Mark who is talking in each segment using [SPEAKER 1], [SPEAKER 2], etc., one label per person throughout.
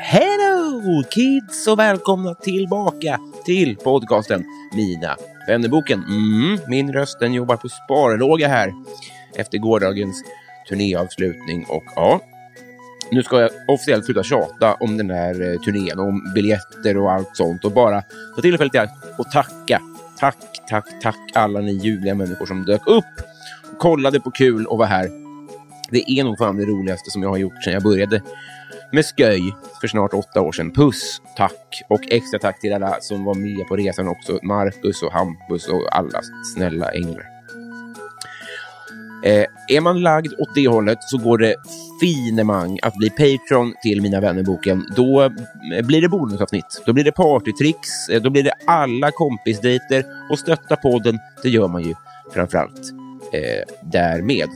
[SPEAKER 1] Hello kids och välkomna tillbaka till podcasten Mina vännerboken. Mm, min röst den jobbar på sparlåga här efter gårdagens turnéavslutning och ja, nu ska jag officiellt sluta tjata om den här eh, turnén, om biljetter och allt sånt och bara ta tillfället i akt och tacka. Tack, tack, tack alla ni ljuvliga människor som dök upp, kollade på kul och var här. Det är nog fan det roligaste som jag har gjort sedan jag började med sköj för snart åtta år sedan. Puss, tack och extra tack till alla som var med på resan också. Marcus och Hampus och alla snälla änglar. Eh, är man lagd åt det hållet så går det finemang att bli Patreon till Mina vännerboken. Då eh, blir det bonusavsnitt, då blir det partytricks, eh, då blir det alla kompisdejter och stötta podden, det gör man ju framförallt eh, därmed.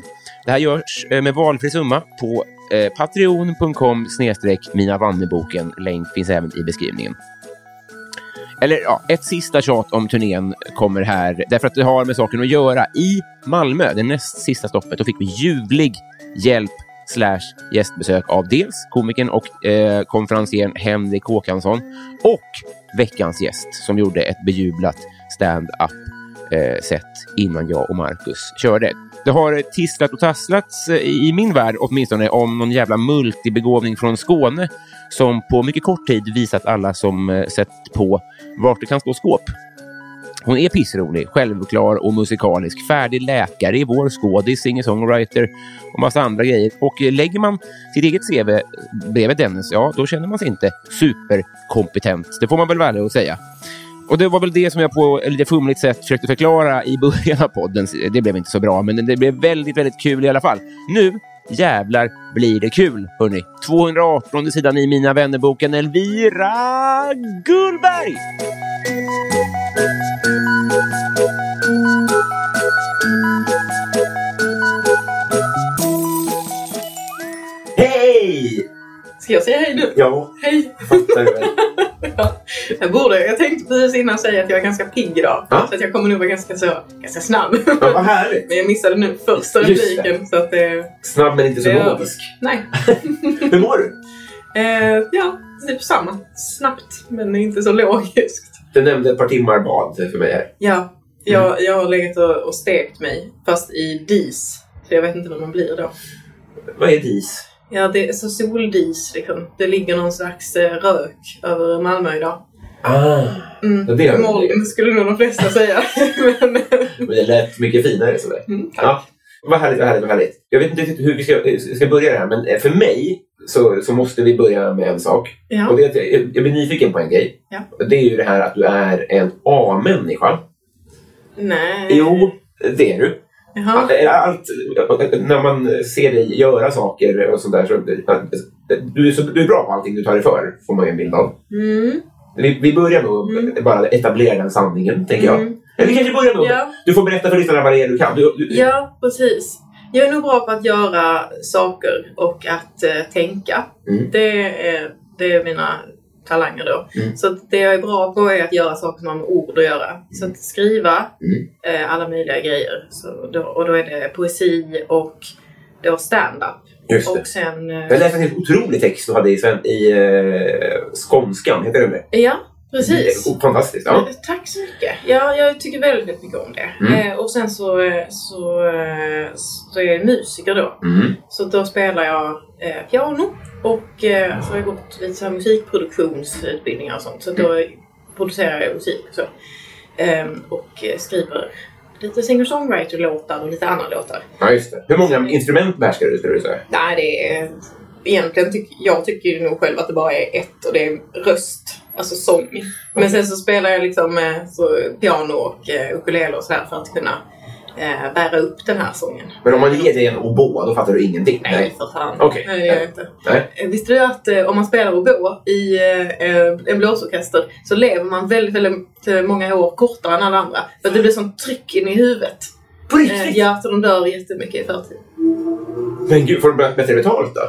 [SPEAKER 1] Det här görs eh, med valfri summa på eh, patreon.com snedstreck Mina vännerboken. Länk finns även i beskrivningen. Eller ja, ett sista tjat om turnén kommer här, därför att det har med saken att göra. I Malmö, det näst sista stoppet, då fick vi ljuvlig hjälp slash gästbesök av dels komikern och eh, konferencieren Henrik Håkansson och veckans gäst som gjorde ett bejublat stand-up eh, set innan jag och Marcus körde. Det har tisslat och tasslats eh, i i min värld åtminstone om någon jävla multibegåvning från Skåne som på mycket kort tid visat alla som eh, sett på vart det kan stå skåp. Hon är pissrolig, självklar och musikalisk, färdig läkare i vår skådis, singer-songwriter och massa andra grejer. Och eh, lägger man sitt eget CV eh, bredvid Dennis, ja, då känner man sig inte superkompetent. Det får man väl vara ärlig och säga. Och det var väl det som jag på ett lite fumligt sätt försökte förklara i början av podden. Det blev inte så bra, men det blev väldigt, väldigt kul i alla fall. Nu jävlar blir det kul, hörni. 218 sidan i Mina vännerboken Elvira Gullberg! Hej!
[SPEAKER 2] Ska jag säga hej nu?
[SPEAKER 1] Ja,
[SPEAKER 2] Hej!
[SPEAKER 1] fattar du väl?
[SPEAKER 2] Jag, borde, jag tänkte precis innan säga att jag är ganska pigg idag.
[SPEAKER 1] Ja.
[SPEAKER 2] Så att jag kommer nog vara ganska, så, ganska snabb.
[SPEAKER 1] Ja, vad härligt!
[SPEAKER 2] Men jag missade nu första
[SPEAKER 1] Just det.
[SPEAKER 2] repliken. Så att det,
[SPEAKER 1] Snabb men inte så
[SPEAKER 2] det är
[SPEAKER 1] logisk.
[SPEAKER 2] över. Nej.
[SPEAKER 1] Hur mår du?
[SPEAKER 2] Eh, ja, typ samma. Snabbt, men inte så logiskt.
[SPEAKER 1] Du nämnde ett par timmar bad för mig här.
[SPEAKER 2] Ja, jag,
[SPEAKER 1] Mm.
[SPEAKER 2] jag har legat och, och stekt mig. Fast i dis. För jag vet inte vad man blir då.
[SPEAKER 1] Vad är dis?
[SPEAKER 2] Ja, det är så soldis liksom. Det ligger någon slags eh, rök över Malmö idag.
[SPEAKER 1] Ah,
[SPEAKER 2] Mm.
[SPEAKER 1] Ja, det är-
[SPEAKER 2] Moln skulle nog de flesta säga. men,
[SPEAKER 1] men det lät mycket finare sådär.
[SPEAKER 2] mm, tack.
[SPEAKER 1] Ja. Vad härligt, vad härligt, vad härligt. Jag vet inte riktigt hur vi ska, ska börja det här, men eh, för mig så, så måste vi börja med en sak.
[SPEAKER 2] Ja.
[SPEAKER 1] Och det är att jag, jag blir nyfiken på en grej.
[SPEAKER 2] Ja. Eh.
[SPEAKER 1] Det är ju det här att du är en A-människa.
[SPEAKER 2] Nej.
[SPEAKER 1] Jo, Alltså- det är du. eh,
[SPEAKER 2] Jaha.
[SPEAKER 1] Allt, när man ser dig göra saker och sånt där. Så, eh, du, är så, du är bra på allting du tar dig för, får man ju en bild av.
[SPEAKER 2] Mm.
[SPEAKER 1] Vi, vi börjar nog bara etablera den sanningen, tänker jag.
[SPEAKER 2] Mm.
[SPEAKER 1] Men vi kanske börjar då.
[SPEAKER 2] Ja.
[SPEAKER 1] Du får berätta för lyssnarna vad det är du kan. Du, du,
[SPEAKER 2] Ja, precis. Jag är nog bra på att göra saker och att eh, tänka.
[SPEAKER 1] Mm.
[SPEAKER 2] Det, är, det är mina talanger då.
[SPEAKER 1] Mm.
[SPEAKER 2] Så att det jag är bra på är att göra saker som har med ord att göra. Så att skriva
[SPEAKER 1] Mm.
[SPEAKER 2] eh, alla möjliga grejer. Så då, och då är det poesi och då stand-up.
[SPEAKER 1] Just det.
[SPEAKER 2] Och sen... eh,
[SPEAKER 1] Jag läste en helt otrolig text du hade i, sven- i eh, skånskan. Heter den det?
[SPEAKER 2] Ja, precis.
[SPEAKER 1] Det är Fantastiskt. Ja.
[SPEAKER 2] Eh, Tack så mycket. Ja, jag tycker väldigt mycket om det.
[SPEAKER 1] Mm.
[SPEAKER 2] Eh, och sen så, eh, så, eh, så är jag musiker då.
[SPEAKER 1] Mm.
[SPEAKER 2] Så då spelar jag eh, piano och eh, så har jag gått lite så här musikproduktionsutbildningar och sånt. Så då
[SPEAKER 1] Mm.
[SPEAKER 2] producerar jag musik och så. Ehm, och eh, skriver lite singer-songwriter-låtar och lite andra låtar.
[SPEAKER 1] ja, just det. Hur många instrument behärskar du, skulle du säga?
[SPEAKER 2] Nej, det är... Egentligen tycker jag tycker nog själv att det bara är ett och det är röst, alltså sång. Men sen så spelar jag liksom eh, så piano och eh, ukulele och så här för att kunna eh, bära upp den här sången.
[SPEAKER 1] Men om man ger dig en oboa, då fattar du ingenting?
[SPEAKER 2] Nej, för fan.
[SPEAKER 1] Okej.
[SPEAKER 2] Nej, det gör jag inte.
[SPEAKER 1] Nej.
[SPEAKER 2] Eh, Visste du att eh, om man spelar oboe i eh, en blåsorkester så lever man väldigt, väldigt eh, många år kortare än alla andra. För att det blir sånt tryck in i huvudet.
[SPEAKER 1] På
[SPEAKER 2] Eh,
[SPEAKER 1] riktigt?
[SPEAKER 2] ja, så de dör jättemycket i förtid.
[SPEAKER 1] Men gud, får de bä- bättre betalt då?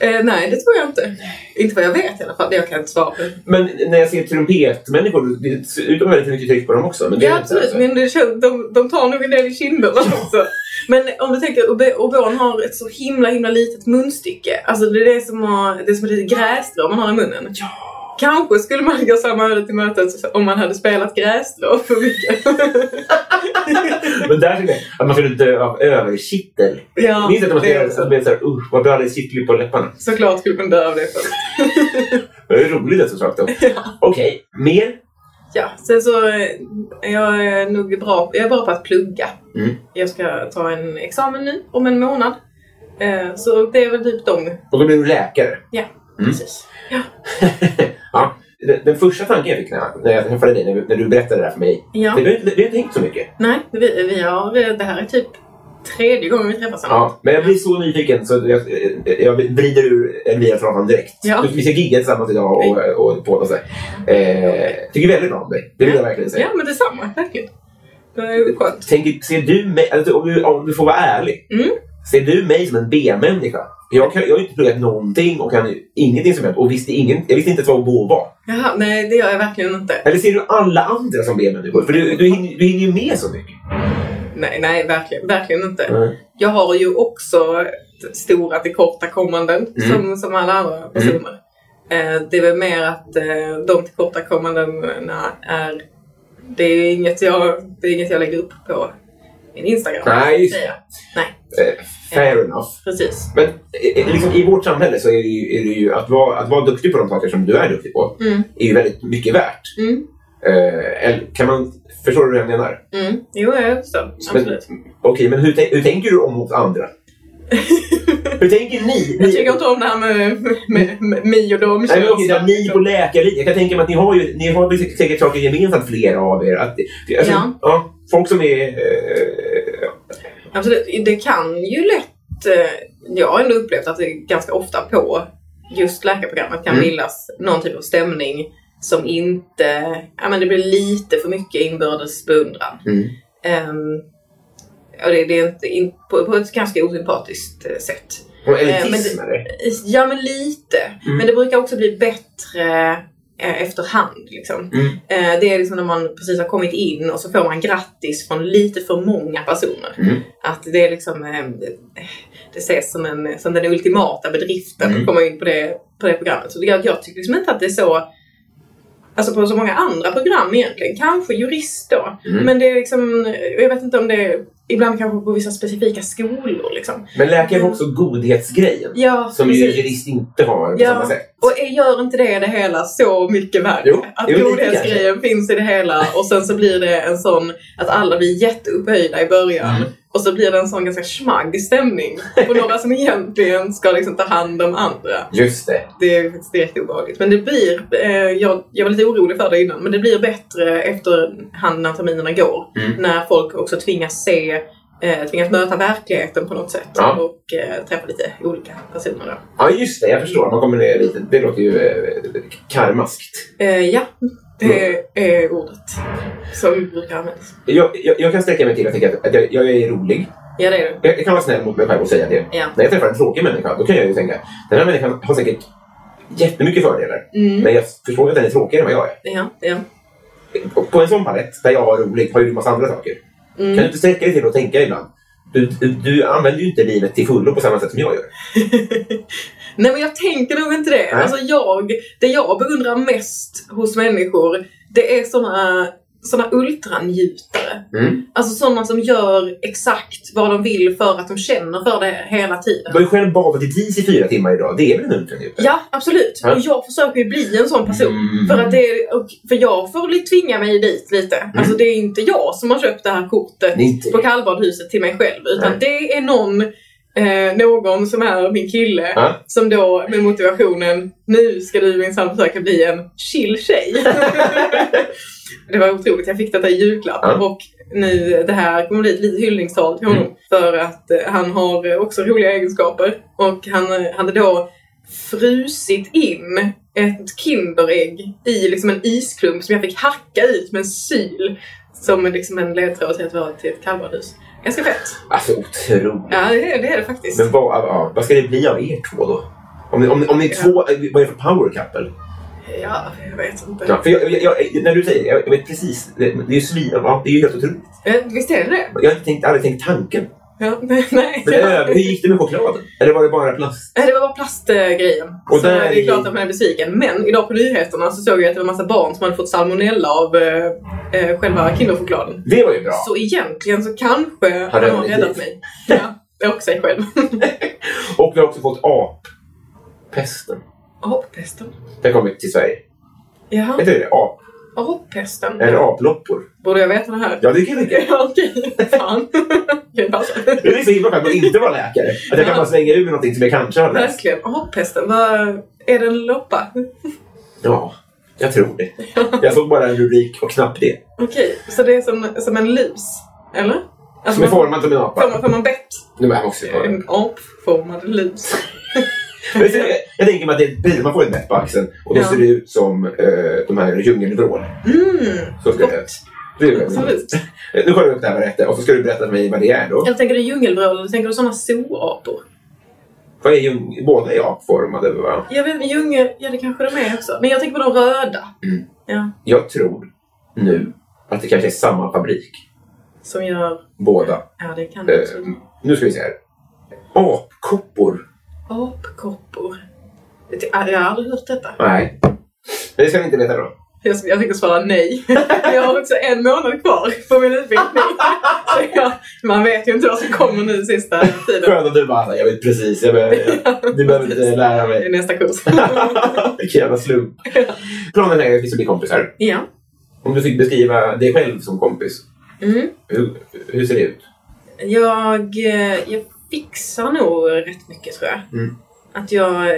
[SPEAKER 2] Eh, nej, det tror jag inte. Inte vad jag vet i alla fall. Det jag kan inte svara på.
[SPEAKER 1] Men när jag ser trumpetmänniskor, det ser ut att vara väldigt mycket tryck på dem också. Men det
[SPEAKER 2] Ja,
[SPEAKER 1] är inte så
[SPEAKER 2] absolut.
[SPEAKER 1] här.
[SPEAKER 2] Men det känns, de, de tar nog en del i kinderna också. Men om du tänker, obe- oboen har ett så himla, himla litet munstycke. Alltså det är det som, har, det är som ett litet grässtrå man har i munnen. Ja. Kanske skulle man gå samma öde till mötet om man hade spelat grässtrå för mycket.
[SPEAKER 1] Men där tycker jag att man skulle dö av överkittel.
[SPEAKER 2] ja,
[SPEAKER 1] Minns du att man
[SPEAKER 2] det är
[SPEAKER 1] skrev
[SPEAKER 2] så.
[SPEAKER 1] så här, usch vad bra det är kittlig på läpparna.
[SPEAKER 2] Såklart skulle man dö av det först.
[SPEAKER 1] Det är roligt att såklart då. Okej, mer?
[SPEAKER 2] Ja, sen så eh, jag är nog bra, jag är bra på att plugga.
[SPEAKER 1] Mm.
[SPEAKER 2] Jag ska ta en examen nu om en månad. Eh, Så det är väl typ de.
[SPEAKER 1] Och då blir du läkare. Mm.
[SPEAKER 2] Precis.
[SPEAKER 1] ja. Den, den första tanken jag fick när jag, när jag träffade dig, när, vi- när du berättade det här för mig.
[SPEAKER 2] Ja.
[SPEAKER 1] Det, du, har inte- du har inte tänkt så mycket.
[SPEAKER 2] Nej, vi, vi har, det här är typ tredje gången vi träffas. Anna.
[SPEAKER 1] Ja, men jag blir så nyfiken så jag, jag vrider ur Elvira från honom direkt.
[SPEAKER 2] Ja.
[SPEAKER 1] Vi ska gigga tillsammans idag och, och podda så här. Eh, tycker väldigt bra om dig. Det vill jag verkligen säga.
[SPEAKER 2] ja men detsamma. Verkligen. Det är ju skönt.
[SPEAKER 1] Tänker, ser du mig, alltså, om, du, om du får vara ärlig,
[SPEAKER 2] Mm.
[SPEAKER 1] ser du mig som en B-människa? Jag, kan, jag har inte pluggat någonting och kan ju ingenting som helst och visste ingen, jag visste inte ens vad Oboe var.
[SPEAKER 2] Jaha, nej det gör jag verkligen inte.
[SPEAKER 1] Eller ser du alla andra som B-människor? För du, du, hinner, du hinner ju med så mycket.
[SPEAKER 2] Nej, nej verkligen, verkligen inte.
[SPEAKER 1] Mm.
[SPEAKER 2] Jag har ju också t- stora tillkortakommanden
[SPEAKER 1] Mm.
[SPEAKER 2] som, som alla andra personer. Eh, Det är väl mer att eh, de tillkortakommandena är... Det är ju inget jag, det är inget jag lägger upp på min Instagram.
[SPEAKER 1] Nej, just det.
[SPEAKER 2] säger jag. Nej,
[SPEAKER 1] Eh, fair enough.
[SPEAKER 2] precis.
[SPEAKER 1] Men eh, eh, liksom, i vårt samhälle så är det ju, är det ju att, vara, att vara duktig på de saker som du är duktig på
[SPEAKER 2] Mm.
[SPEAKER 1] är ju väldigt mycket värt.
[SPEAKER 2] Mm.
[SPEAKER 1] Eh, eller, kan man, förstår du hur jag menar?
[SPEAKER 2] Mm. Jo, jag förstår.
[SPEAKER 1] Men,
[SPEAKER 2] Absolut.
[SPEAKER 1] Okej, men hur, tän- hur tänker du om mot andra? hur tänker ni?
[SPEAKER 2] Jag
[SPEAKER 1] Ni-
[SPEAKER 2] tycker inte om det här med, med, med mig och dem.
[SPEAKER 1] Nej, men okej, där, ni på läkare, jag kan tänka mig att ni har ju ni har väl säkert saker gemensamt flera av er. Att, det- alltså,
[SPEAKER 2] Ja.
[SPEAKER 1] folk som är... Eh,
[SPEAKER 2] Absolut. Det kan ju lätt... eh, Jag har ändå upplevt att det ganska ofta på just läkarprogrammet kan
[SPEAKER 1] Mm.
[SPEAKER 2] bildas någon typ av stämning som inte... Ja, men det blir lite för mycket inbördes beundran.
[SPEAKER 1] mm,
[SPEAKER 2] Ehm, och det, det är inte, in, på, på ett ganska osympatiskt eh, sätt.
[SPEAKER 1] och
[SPEAKER 2] Eh, men
[SPEAKER 1] elitism,
[SPEAKER 2] det-
[SPEAKER 1] eller?
[SPEAKER 2] Ja, men lite.
[SPEAKER 1] Mm.
[SPEAKER 2] Men det brukar också bli bättre eh, efterhand. Liksom.
[SPEAKER 1] Mm.
[SPEAKER 2] Eh, det är liksom när man precis har kommit in och så får man grattis från lite för många personer.
[SPEAKER 1] Mm.
[SPEAKER 2] Att det är liksom, eh, det ses som, en, som den ultimata bedriften
[SPEAKER 1] Mm.
[SPEAKER 2] att komma in på det, på det programmet. Så jag, jag tycker liksom inte att det är så Alltså på så många andra program egentligen. Kanske jurist då.
[SPEAKER 1] Mm.
[SPEAKER 2] Men det är liksom, jag vet inte om det är, ibland kanske på vissa specifika skolor liksom.
[SPEAKER 1] Men läkare har också godhetsgrejen.
[SPEAKER 2] Ja,
[SPEAKER 1] Som ju
[SPEAKER 2] precis.
[SPEAKER 1] jurist inte har på
[SPEAKER 2] Ja.
[SPEAKER 1] samma sätt.
[SPEAKER 2] Och gör inte det det hela så mycket värre?
[SPEAKER 1] Jo,
[SPEAKER 2] att
[SPEAKER 1] jo, lite
[SPEAKER 2] godhetsgrejen finns i det hela och sen så blir det en sån att alla blir jätteupphöjda i början
[SPEAKER 1] Mm.
[SPEAKER 2] och så blir det en sån ganska smagg stämning på några som egentligen ska liksom ta hand om andra.
[SPEAKER 1] Just det.
[SPEAKER 2] Det är faktiskt direkt obehagligt. Men det blir, eh, jag, jag var lite orolig för det innan, men det blir bättre efterhand när terminerna går.
[SPEAKER 1] Mm.
[SPEAKER 2] När folk också tvingas se, eh, tvingas möta verkligheten på något sätt
[SPEAKER 1] Ja.
[SPEAKER 2] och eh, träffa lite olika personer då.
[SPEAKER 1] Ja, just det. Jag förstår. Man kommer ner lite. Det låter ju eh, karmaskt.
[SPEAKER 2] Eh, ja, Det är ordet som brukar användas.
[SPEAKER 1] Jag, jag, jag kan sträcka mig till att tänka att- att jag, jag är rolig.
[SPEAKER 2] Ja, det är det.
[SPEAKER 1] Jag, jag kan vara snäll mot mig själv och säga det.
[SPEAKER 2] Ja.
[SPEAKER 1] När jag träffar en tråkig människa då kan jag ju tänka den här människan har säkert jättemycket fördelar.
[SPEAKER 2] Mm.
[SPEAKER 1] Men jag förstår ju att den är tråkigare än vad jag är.
[SPEAKER 2] Ja, ja.
[SPEAKER 1] Och på en sån palett där jag har roligt har ju du massa andra saker.
[SPEAKER 2] Mm.
[SPEAKER 1] Kan du inte sträcka dig till att tänka ibland? Du, du, du använder ju inte livet till fullo på samma sätt som jag gör.
[SPEAKER 2] Nej men jag tänker nog inte det.
[SPEAKER 1] Nej.
[SPEAKER 2] Alltså jag, det jag beundrar mest hos människor det är såna, såna ultrangjutare.
[SPEAKER 1] Mm.
[SPEAKER 2] Alltså sådana som gör exakt vad de vill för att de känner för det hela
[SPEAKER 1] Du
[SPEAKER 2] tiden.
[SPEAKER 1] har ju själv badat i dis i fyra timmar idag. Det är väl en ultraljud?
[SPEAKER 2] Ja, absolut.
[SPEAKER 1] Ja.
[SPEAKER 2] Och jag försöker ju bli en sån person.
[SPEAKER 1] Mm.
[SPEAKER 2] För, att det, är- och för jag får li- tvinga mig dit lite. Alltså
[SPEAKER 1] Mm.
[SPEAKER 2] det är inte jag som har köpt det här kortet
[SPEAKER 1] Det är inte-
[SPEAKER 2] på kallbadhuset till mig själv. Utan
[SPEAKER 1] Nej.
[SPEAKER 2] det är någon, eh, någon som är min kille
[SPEAKER 1] Ja.
[SPEAKER 2] som då med motivationen nu ska du minsann försöka bli en chill tjej. det var otroligt, jag fick detta i julklapp
[SPEAKER 1] Ja. Mm.
[SPEAKER 2] och nu det här kommer bli ett litet hyllningstal till honom för att eh, han har eh, också roliga egenskaper och han eh, hade då frusit in ett Kinderägg i liksom en isklump som jag fick hacka ut med en syl som liksom en ledtråd till att vara till ett kallbadhus. Ganska fett.
[SPEAKER 1] Alltså otroligt.
[SPEAKER 2] Ja, det är det, är det faktiskt.
[SPEAKER 1] Men vad, ja, vad ska det bli av er två då? Om ni, om, ni- om ni är två, vad är det för power couple?
[SPEAKER 2] Ja, jag vet inte.
[SPEAKER 1] Ja, för jag, jag, jag, när du säger det, jag, jag vet precis. Det, det är ju svin, ja, det är ju helt otroligt.
[SPEAKER 2] Eh, Visst är det det?
[SPEAKER 1] Jag har inte tänkt, aldrig tänkt tanken.
[SPEAKER 2] Ja, nej. nej.
[SPEAKER 1] Men ö, hur gick det med chokladen? Eller var det bara plast?
[SPEAKER 2] Nej, Det var bara plastgrejen.
[SPEAKER 1] Och
[SPEAKER 2] så
[SPEAKER 1] där
[SPEAKER 2] det är
[SPEAKER 1] i-
[SPEAKER 2] klart att man är besviken. Men idag på nyheterna så såg jag att det var massa barn som hade fått salmonella av eh, eh, själva kinderchokladen.
[SPEAKER 1] Det var ju bra.
[SPEAKER 2] Så egentligen så kanske
[SPEAKER 1] Har
[SPEAKER 2] han
[SPEAKER 1] det
[SPEAKER 2] har
[SPEAKER 1] blivit?
[SPEAKER 2] räddat mig. Ja, och sig själv.
[SPEAKER 1] Och vi har också fått appesten.
[SPEAKER 2] Appesten.
[SPEAKER 1] Den kommer till Sverige.
[SPEAKER 2] Jaha,
[SPEAKER 1] Heter det ap?
[SPEAKER 2] appesten.
[SPEAKER 1] Eller aploppor?
[SPEAKER 2] Borde jag veta det här?
[SPEAKER 1] Ja, det kan jag tänka.
[SPEAKER 2] Ja, Okej, fan. Okej, passa.
[SPEAKER 1] Det är så himla skönt att inte vara läkare. Att jag kan bara slänga ur mig någonting som jag kanske har läst.
[SPEAKER 2] Verkligen. Appesten. Vad... Är det en loppa?
[SPEAKER 1] Ja, jag tror det. Jag såg bara en rubrik och knappt det.
[SPEAKER 2] Okej, så det är som, som en lus? Eller? Alltså,
[SPEAKER 1] Som är
[SPEAKER 2] man-
[SPEAKER 1] formad som en
[SPEAKER 2] Får man,
[SPEAKER 1] apa.
[SPEAKER 2] får man bett?
[SPEAKER 1] Nu är jag också på det.
[SPEAKER 2] En apformad lus.
[SPEAKER 1] Men så- Jag tänker mig att det är ett bil. Man får ett bett på axeln och då
[SPEAKER 2] Ja.
[SPEAKER 1] ser det ut som eh, de här djungelvrål.
[SPEAKER 2] Mm,
[SPEAKER 1] Så ska det.
[SPEAKER 2] gott.
[SPEAKER 1] det är väl-
[SPEAKER 2] Absolut.
[SPEAKER 1] nu kollar vi upp det här vad det heter och så ska du berätta för mig vad det är då.
[SPEAKER 2] Jag tänker du djungelvrål eller tänker du sådana zoapor?
[SPEAKER 1] Vad är djung... Båda är apformade va?
[SPEAKER 2] Jag vet inte, djungel... Ja, det kanske de är också. Men jag tänker på de röda.
[SPEAKER 1] Mm.
[SPEAKER 2] Ja,
[SPEAKER 1] Jag tror nu att det kanske är samma fabrik.
[SPEAKER 2] som gör...
[SPEAKER 1] Båda.
[SPEAKER 2] Ja, det kan det
[SPEAKER 1] Eh,
[SPEAKER 2] absolut.
[SPEAKER 1] nu ska vi se här. Apkoppor.
[SPEAKER 2] Apkoppor. Det- ja, Jag har aldrig hört detta.
[SPEAKER 1] Nej. Men det ska vi inte veta då.
[SPEAKER 2] Jag, jag tänker svara nej. Jag har också en månad kvar på min utbildning. Så jag, man vet ju inte vad som kommer nu sista tiden.
[SPEAKER 1] Skönt att du bara, jag vet precis, jag behöver, du behöver inte lära
[SPEAKER 2] Det är
[SPEAKER 1] mig.
[SPEAKER 2] nästa kurs.
[SPEAKER 1] Vilken jävla slump. Planen är att vi ska bli kompisar.
[SPEAKER 2] Ja.
[SPEAKER 1] Om du fick beskriva dig själv som kompis,
[SPEAKER 2] Mm.
[SPEAKER 1] hur, hur ser det ut?
[SPEAKER 2] Jag, eh, jag fixar nog rätt mycket tror jag.
[SPEAKER 1] Mm.
[SPEAKER 2] Att jag,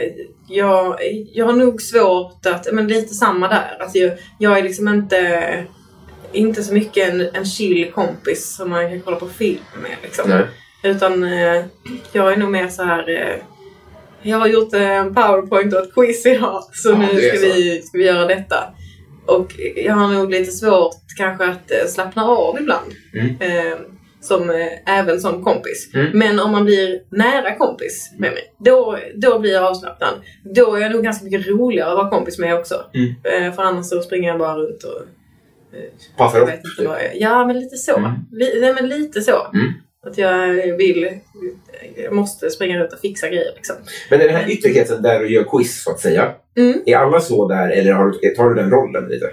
[SPEAKER 2] jag, jag har nog svårt att, men lite samma där. Alltså jag, jag är liksom inte, inte så mycket en, en chill kompis som man kan kolla på film med. Liksom.
[SPEAKER 1] Nej.
[SPEAKER 2] Utan eh, jag är nog mer så här. Eh, jag har gjort en powerpoint och ett quiz idag så
[SPEAKER 1] Ja,
[SPEAKER 2] nu
[SPEAKER 1] det är
[SPEAKER 2] ska
[SPEAKER 1] så.
[SPEAKER 2] vi, ska vi göra detta. Och jag har nog lite svårt kanske att eh, slappna av ibland.
[SPEAKER 1] Mm.
[SPEAKER 2] Eh, som, eh, även som kompis.
[SPEAKER 1] Mm.
[SPEAKER 2] Men om man blir nära kompis med mig, då, då blir jag avslappnad. Då är jag nog ganska mycket roligare att vara kompis med också.
[SPEAKER 1] Mm.
[SPEAKER 2] Eh, för annars så springer jag bara runt och
[SPEAKER 1] Passar
[SPEAKER 2] jag
[SPEAKER 1] upp.
[SPEAKER 2] vet inte vad jag är. Ja, men lite så.
[SPEAKER 1] Mm.
[SPEAKER 2] Li, nej, men lite så.
[SPEAKER 1] Mm.
[SPEAKER 2] Att jag vill, jag måste springa runt och fixa grejer liksom.
[SPEAKER 1] Men den här yttre kretsen där du gör quiz så att säga.
[SPEAKER 2] Mm.
[SPEAKER 1] Är alla så där eller har du, tar du den rollen lite?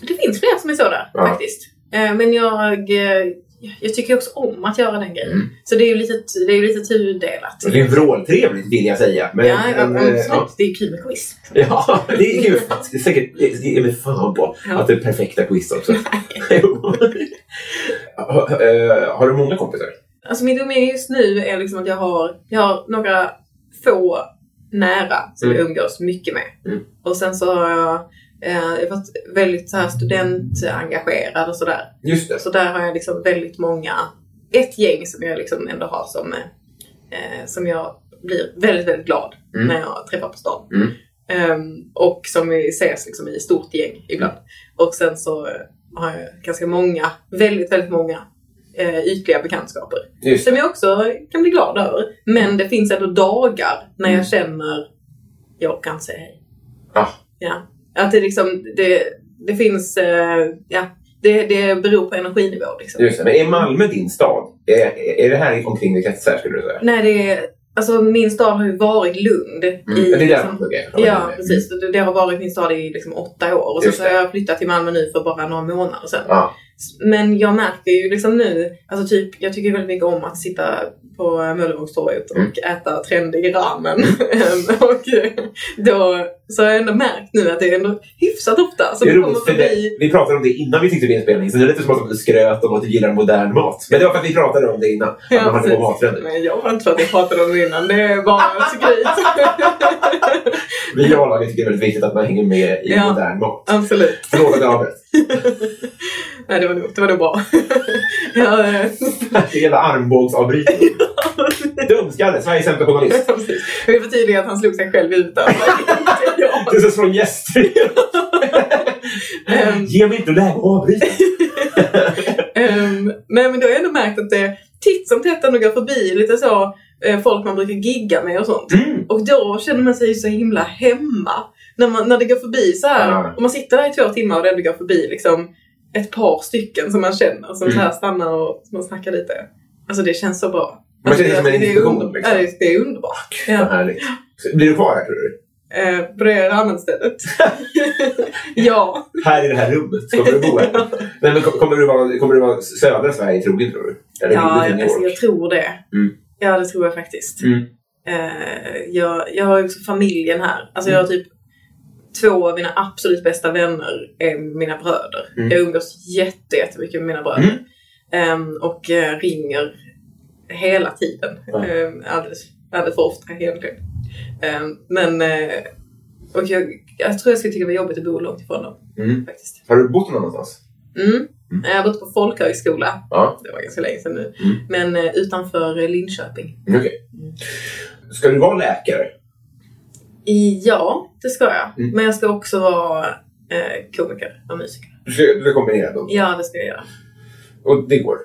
[SPEAKER 2] Det finns fler som är så där
[SPEAKER 1] Ja.
[SPEAKER 2] faktiskt. Eh, Men jag, eh, jag tycker också om att göra den grejen.
[SPEAKER 1] Mm.
[SPEAKER 2] Så det är ju lite, det är ju lite tudelat.
[SPEAKER 1] Det är ju vråltrevligt vill jag säga. Men,
[SPEAKER 2] Ja, ja,
[SPEAKER 1] men, eh,
[SPEAKER 2] absolut.
[SPEAKER 1] ja.
[SPEAKER 2] Det är kul med quiz.
[SPEAKER 1] Ja, det är ju det är säkert, det är mig fan på
[SPEAKER 2] Ja.
[SPEAKER 1] att det är perfekta quiz också. Jo. Ha- eh, har du många kompisar?
[SPEAKER 2] Alltså mitt umgänge just nu är liksom att jag har, jag har några få nära som
[SPEAKER 1] Mm.
[SPEAKER 2] jag umgås mycket med.
[SPEAKER 1] Mm.
[SPEAKER 2] Och sen så har jag, eh, jag har varit väldigt så här studentengagerad och sådär.
[SPEAKER 1] Just det.
[SPEAKER 2] Så där har jag liksom väldigt många, ett gäng som jag liksom ändå har som, eh, som jag blir väldigt, väldigt glad
[SPEAKER 1] Mm.
[SPEAKER 2] när jag träffar på stan.
[SPEAKER 1] Mm.
[SPEAKER 2] Ehm, och som vi ses liksom i stort gäng ibland. Och sen så eh, har jag ganska många, väldigt, väldigt många eh, ytliga bekantskaper.
[SPEAKER 1] Just
[SPEAKER 2] Som jag också kan bli glad över. Men det finns ändå dagar när jag känner jag kan säga hej.
[SPEAKER 1] Mm. Ja.
[SPEAKER 2] Ja. Att det liksom, det, det finns, eh, ja, det, det beror på energinivå liksom.
[SPEAKER 1] Just det. Men är Malmö din stad? Är, är det här i omkringande kretsar skulle du säga?
[SPEAKER 2] Nej, det är, alltså min stad har ju varit Lund.
[SPEAKER 1] Mm.
[SPEAKER 2] I,
[SPEAKER 1] Ja, det är där
[SPEAKER 2] liksom,
[SPEAKER 1] man pluggar.
[SPEAKER 2] Ja, precis. Det, det har varit min stad i liksom åtta år och sen
[SPEAKER 1] Just
[SPEAKER 2] så
[SPEAKER 1] det.
[SPEAKER 2] har jag flyttat till Malmö nu för bara några månader sedan.
[SPEAKER 1] Ja.
[SPEAKER 2] Men jag märker ju liksom nu, alltså typ, jag tycker väldigt mycket om att sitta på Möllevångstorget och
[SPEAKER 1] Mm.
[SPEAKER 2] äta trendig ramen. och då så har jag ändå märkt nu att det är ändå hyfsat ofta som
[SPEAKER 1] det är
[SPEAKER 2] kommer
[SPEAKER 1] roligt, för
[SPEAKER 2] förbi.
[SPEAKER 1] det, vi pratade om det innan vi tyckte vi inspelning, så det är lite som att du skröt om att du gillar modern mat. Men det var för att vi pratade om det innan, att
[SPEAKER 2] Ja,
[SPEAKER 1] man hade
[SPEAKER 2] precis.
[SPEAKER 1] på mattrender.
[SPEAKER 2] Men jag har inte för att jag pratade om det innan, det är bara skryt.
[SPEAKER 1] Vi i A-laget tycker det är väldigt viktigt att man hänger med i
[SPEAKER 2] Ja.
[SPEAKER 1] modern mat.
[SPEAKER 2] Absolut.
[SPEAKER 1] Förlåt att jag avbröt.
[SPEAKER 2] Nej, det var nog, det var nog bra. ja, eh,
[SPEAKER 1] Det är hela armbågsavbrytning. Dumskalle, Sveriges sämsta journalist.
[SPEAKER 2] precis. Vi förtydligar att han slog sig själv i huvudet.
[SPEAKER 1] Du ska slå en gäst.
[SPEAKER 2] Ehm,
[SPEAKER 1] Ge mig inte läge att avbryta.
[SPEAKER 2] Ehm, nej, men då har jag ändå märkt att det titt som tätt ändå går förbi lite så eh, folk man brukar gigga med och sånt.
[SPEAKER 1] Mm.
[SPEAKER 2] Och då känner man sig ju så himla hemma. När, man, när det går förbi så här,
[SPEAKER 1] Ja.
[SPEAKER 2] och man sitter där i två timmar och det ändå går förbi liksom ett par stycken som man känner som
[SPEAKER 1] Mm.
[SPEAKER 2] så här stannar och som man snackar lite. Alltså det känns så bra.
[SPEAKER 1] Man
[SPEAKER 2] alltså,
[SPEAKER 1] känner sig som en
[SPEAKER 2] det, är
[SPEAKER 1] institution,
[SPEAKER 2] under-
[SPEAKER 1] liksom.
[SPEAKER 2] ja, det, det är underbart.
[SPEAKER 1] Vad
[SPEAKER 2] Ja.
[SPEAKER 1] härligt. Så Blir du kvar här tror du?
[SPEAKER 2] Eh, på det ramenstället. ja.
[SPEAKER 1] Här i det här rummet? Kommer du bo här? Nej, men kom- kommer, du vara, kommer du vara södra Sverige trogen tror du? Eller
[SPEAKER 2] Ja,
[SPEAKER 1] vill du till New
[SPEAKER 2] alltså, jag
[SPEAKER 1] York?
[SPEAKER 2] tror det.
[SPEAKER 1] Mm.
[SPEAKER 2] Ja, det tror jag faktiskt.
[SPEAKER 1] Mm.
[SPEAKER 2] Eh, jag, jag har ju också familjen här. Alltså jag har
[SPEAKER 1] Mm.
[SPEAKER 2] typ två av mina absolut bästa vänner är mina bröder.
[SPEAKER 1] Mm.
[SPEAKER 2] Jag umgås jätte, jättemycket med mina bröder. Ehm, och eh, ringer hela tiden.
[SPEAKER 1] Ja.
[SPEAKER 2] Ehm, alldeles, alldeles för ofta egentligen. Ehm, men eh, och jag, jag tror jag skulle tycka det var jobbigt att bo långt ifrån dem
[SPEAKER 1] Mm.
[SPEAKER 2] faktiskt.
[SPEAKER 1] Har du bott någon annanstans?
[SPEAKER 2] Mm. Jag har bott på folkhögskola
[SPEAKER 1] Ja.
[SPEAKER 2] det var ganska länge sedan nu.
[SPEAKER 1] Mm.
[SPEAKER 2] Men eh, utanför eh, Linköping.
[SPEAKER 1] Mm, Okej. Ska du vara läkare?
[SPEAKER 2] I, ja, det ska jag.
[SPEAKER 1] Mm.
[SPEAKER 2] Men jag ska också vara eh, komiker och musiker.
[SPEAKER 1] Du ska, du ska kombinera dem.
[SPEAKER 2] Ja, det ska jag göra.
[SPEAKER 1] Och det går.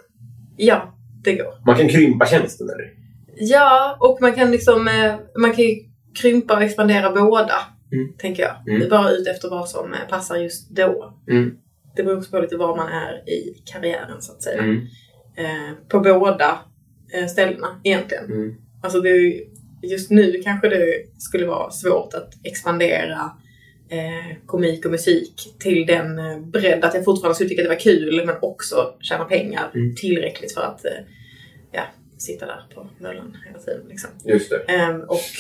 [SPEAKER 2] Ja, det går.
[SPEAKER 1] Man kan krympa tjänsten eller?
[SPEAKER 2] Ja, och man kan liksom eh, man kan ju krympa och expandera båda.
[SPEAKER 1] Mm.
[SPEAKER 2] Tänker jag.
[SPEAKER 1] Mm.
[SPEAKER 2] Det är bara ut efter vad som eh, passar just då.
[SPEAKER 1] Mm.
[SPEAKER 2] Det beror också på lite var man är i karriären så att säga.
[SPEAKER 1] Mm.
[SPEAKER 2] Eh, på båda eh, ställena egentligen.
[SPEAKER 1] Mm.
[SPEAKER 2] Alltså det, är ju- just nu kanske det skulle vara svårt att expandera eh, komik och musik till den eh, bredd att jag fortfarande skulle tycka att det var kul men också tjäna pengar
[SPEAKER 1] Mm.
[SPEAKER 2] tillräckligt för att eh, ja, sitta där på möllan hela tiden. Liksom.
[SPEAKER 1] Just det.
[SPEAKER 2] Ehm, och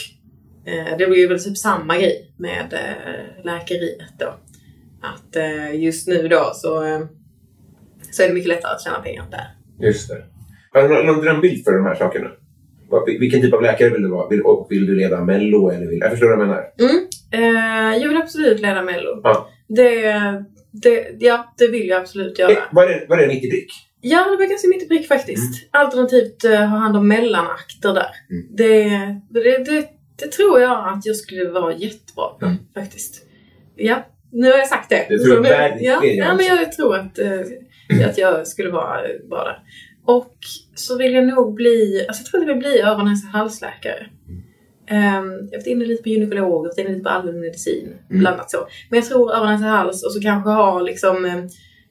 [SPEAKER 2] eh, det blir ju väl typ samma grej med eh, läkeriet då. Att eh, just nu då så, eh, så är det mycket lättare att tjäna pengar där.
[SPEAKER 1] Just det. Har du någon, någon drömbild för de här sakerna? Vad- vil- Vilken typ av läkare vill du vara? Vill, och vill du leda Mello? Eller vill, jag förstår vad du menar.
[SPEAKER 2] Eh, jag vill absolut leda Mello.
[SPEAKER 1] Ja.
[SPEAKER 2] Det, det, ja, det vill jag absolut göra.
[SPEAKER 1] Eh, Vad är, vad är mitt i prick?
[SPEAKER 2] Ja, det var ganska mitt i prick faktiskt. Alternativt eh, ha hand om mellanakter där.
[SPEAKER 1] Mm.
[SPEAKER 2] Det, det, det, det tror jag att jag skulle vara jättebra på
[SPEAKER 1] Mm.
[SPEAKER 2] faktiskt. Ja, nu har jag sagt det.
[SPEAKER 1] Det tror jag
[SPEAKER 2] Så nu-
[SPEAKER 1] verkligen
[SPEAKER 2] ja, ja,
[SPEAKER 1] också.
[SPEAKER 2] men jag tror att, eh, att jag skulle vara eh, bra där. Och så vill jag nog bli, alltså jag tror att jag vill bli öron, näs och halsläkare. Ehm, jag har varit inne lite på gynekolog, jag har varit inne lite på allmänmedicin,
[SPEAKER 1] Mm.
[SPEAKER 2] bland annat så. Men jag tror öron, näs och hals och så kanske ha liksom, eh,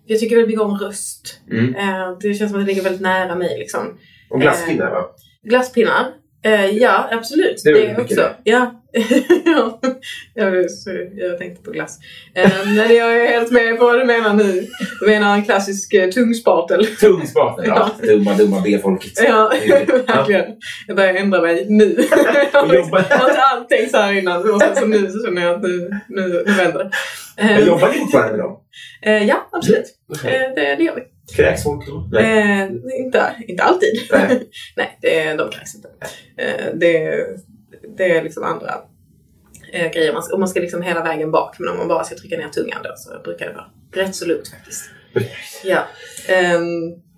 [SPEAKER 2] jag tycker väldigt mycket om röst.
[SPEAKER 1] Mm.
[SPEAKER 2] Eh, Det känns som att det ligger väldigt nära mig. Liksom.
[SPEAKER 1] Och glasspinnar va?
[SPEAKER 2] Glasspinnar? Eh, ja, absolut.
[SPEAKER 1] Det är
[SPEAKER 2] Det,
[SPEAKER 1] väl
[SPEAKER 2] är
[SPEAKER 1] mycket
[SPEAKER 2] också. Ja. Ja, jag, sorry, jag tänkte på glass. Eh, men jag är helt med på vad du menar nu. Du menar en klassisk eh, tungspatel.
[SPEAKER 1] Tung spatel. Ja. Dumma, dumma B-folket.
[SPEAKER 2] Ja,
[SPEAKER 1] Ja.
[SPEAKER 2] verkligen. Jag börjar ändra mig nu. jag har liksom- jag har inte alls tänkt så här innan. Och sen så nu så känner jag att nu, nu, nu vänder det. Eh,
[SPEAKER 1] Jag jobbar Mm. fortfarande med dem.
[SPEAKER 2] eh, ja, absolut.
[SPEAKER 1] Okay.
[SPEAKER 2] Eh, det, det gör vi.
[SPEAKER 1] Kräks folk då? Nej.
[SPEAKER 2] Eh, inte, inte alltid.
[SPEAKER 1] Nej.
[SPEAKER 2] Nej, det, de kräks inte. Eh, det, det är liksom andra eh, grejer. Man, ska- om man ska liksom hela vägen bak, men om man bara ska trycka ner tungan då så brukar det vara rätt så lugnt faktiskt. Ja. Ehm,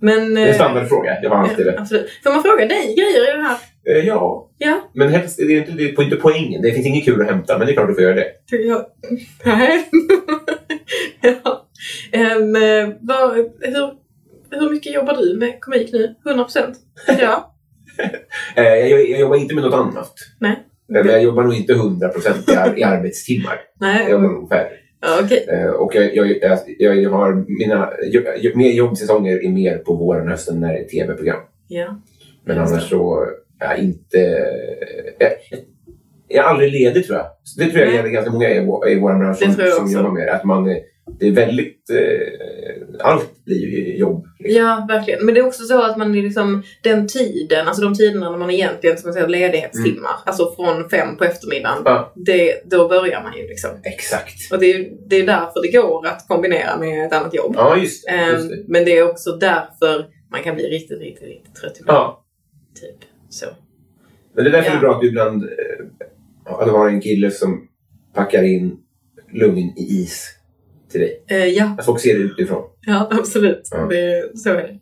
[SPEAKER 2] men...
[SPEAKER 1] Det är en
[SPEAKER 2] eh,
[SPEAKER 1] standardfråga. Det var hans
[SPEAKER 2] ja,
[SPEAKER 1] det.
[SPEAKER 2] absolut. Får man fråga dig grejer i det här?
[SPEAKER 1] Eh, Ja,
[SPEAKER 2] Ja.
[SPEAKER 1] men helst, det är inte, det är inte poängen. Det finns inget kul att hämta, men det är klart du får göra det.
[SPEAKER 2] tycker jag. Nej. ja. Ehm, eh, vad, hur, hur mycket jobbar du med komik nu? 100 procent? Ja.
[SPEAKER 1] Eh, Jag, jag, jag jobbar inte med något annat.
[SPEAKER 2] Nej.
[SPEAKER 1] Eh, Men jag jobbar nog inte 100 procent i, ar- i arbetstimmar. Jag
[SPEAKER 2] Nej.
[SPEAKER 1] jobbar ungefär.
[SPEAKER 2] Ja, okej.
[SPEAKER 1] Eh, Och jag, jag, jag, jag, jag har mina jo- jo- mer jobbsäsonger är mer på våren och hösten när det är tv-program.
[SPEAKER 2] Ja.
[SPEAKER 1] Men
[SPEAKER 2] Just
[SPEAKER 1] annars så är jag inte... Jag, jag är aldrig ledig tror jag. Så det tror jag
[SPEAKER 2] Nej.
[SPEAKER 1] gäller ganska många i, vår- i vår bransch
[SPEAKER 2] Det
[SPEAKER 1] som,
[SPEAKER 2] tror jag
[SPEAKER 1] som
[SPEAKER 2] också.
[SPEAKER 1] jobbar med det. Att man, är- det är väldigt... Eh, allt blir ju jobb. Liksom.
[SPEAKER 2] Ja, verkligen. Men det är också så att man är liksom den tiden, alltså de tiderna när man egentligen som jag säger ledighetstimmar,
[SPEAKER 1] Mm.
[SPEAKER 2] alltså från fem på eftermiddagen,
[SPEAKER 1] Ja.
[SPEAKER 2] det, då börjar man ju liksom.
[SPEAKER 1] Exakt.
[SPEAKER 2] Och det är ju det är därför det går att kombinera med ett annat jobb.
[SPEAKER 1] Ja, just det.
[SPEAKER 2] Ehm,
[SPEAKER 1] Just det.
[SPEAKER 2] Men det är också därför man kan bli riktigt, riktigt, riktigt trött ibland.
[SPEAKER 1] Ja.
[SPEAKER 2] Typ. Så.
[SPEAKER 1] Men det är därför det
[SPEAKER 2] Ja.
[SPEAKER 1] är bra att du ibland eh, att du har en kille som packar in lugn i is till dig.
[SPEAKER 2] Eh, ja,
[SPEAKER 1] Att folk ser det utifrån.
[SPEAKER 2] ja, absolut.
[SPEAKER 1] Ja.
[SPEAKER 2] Det, så är det.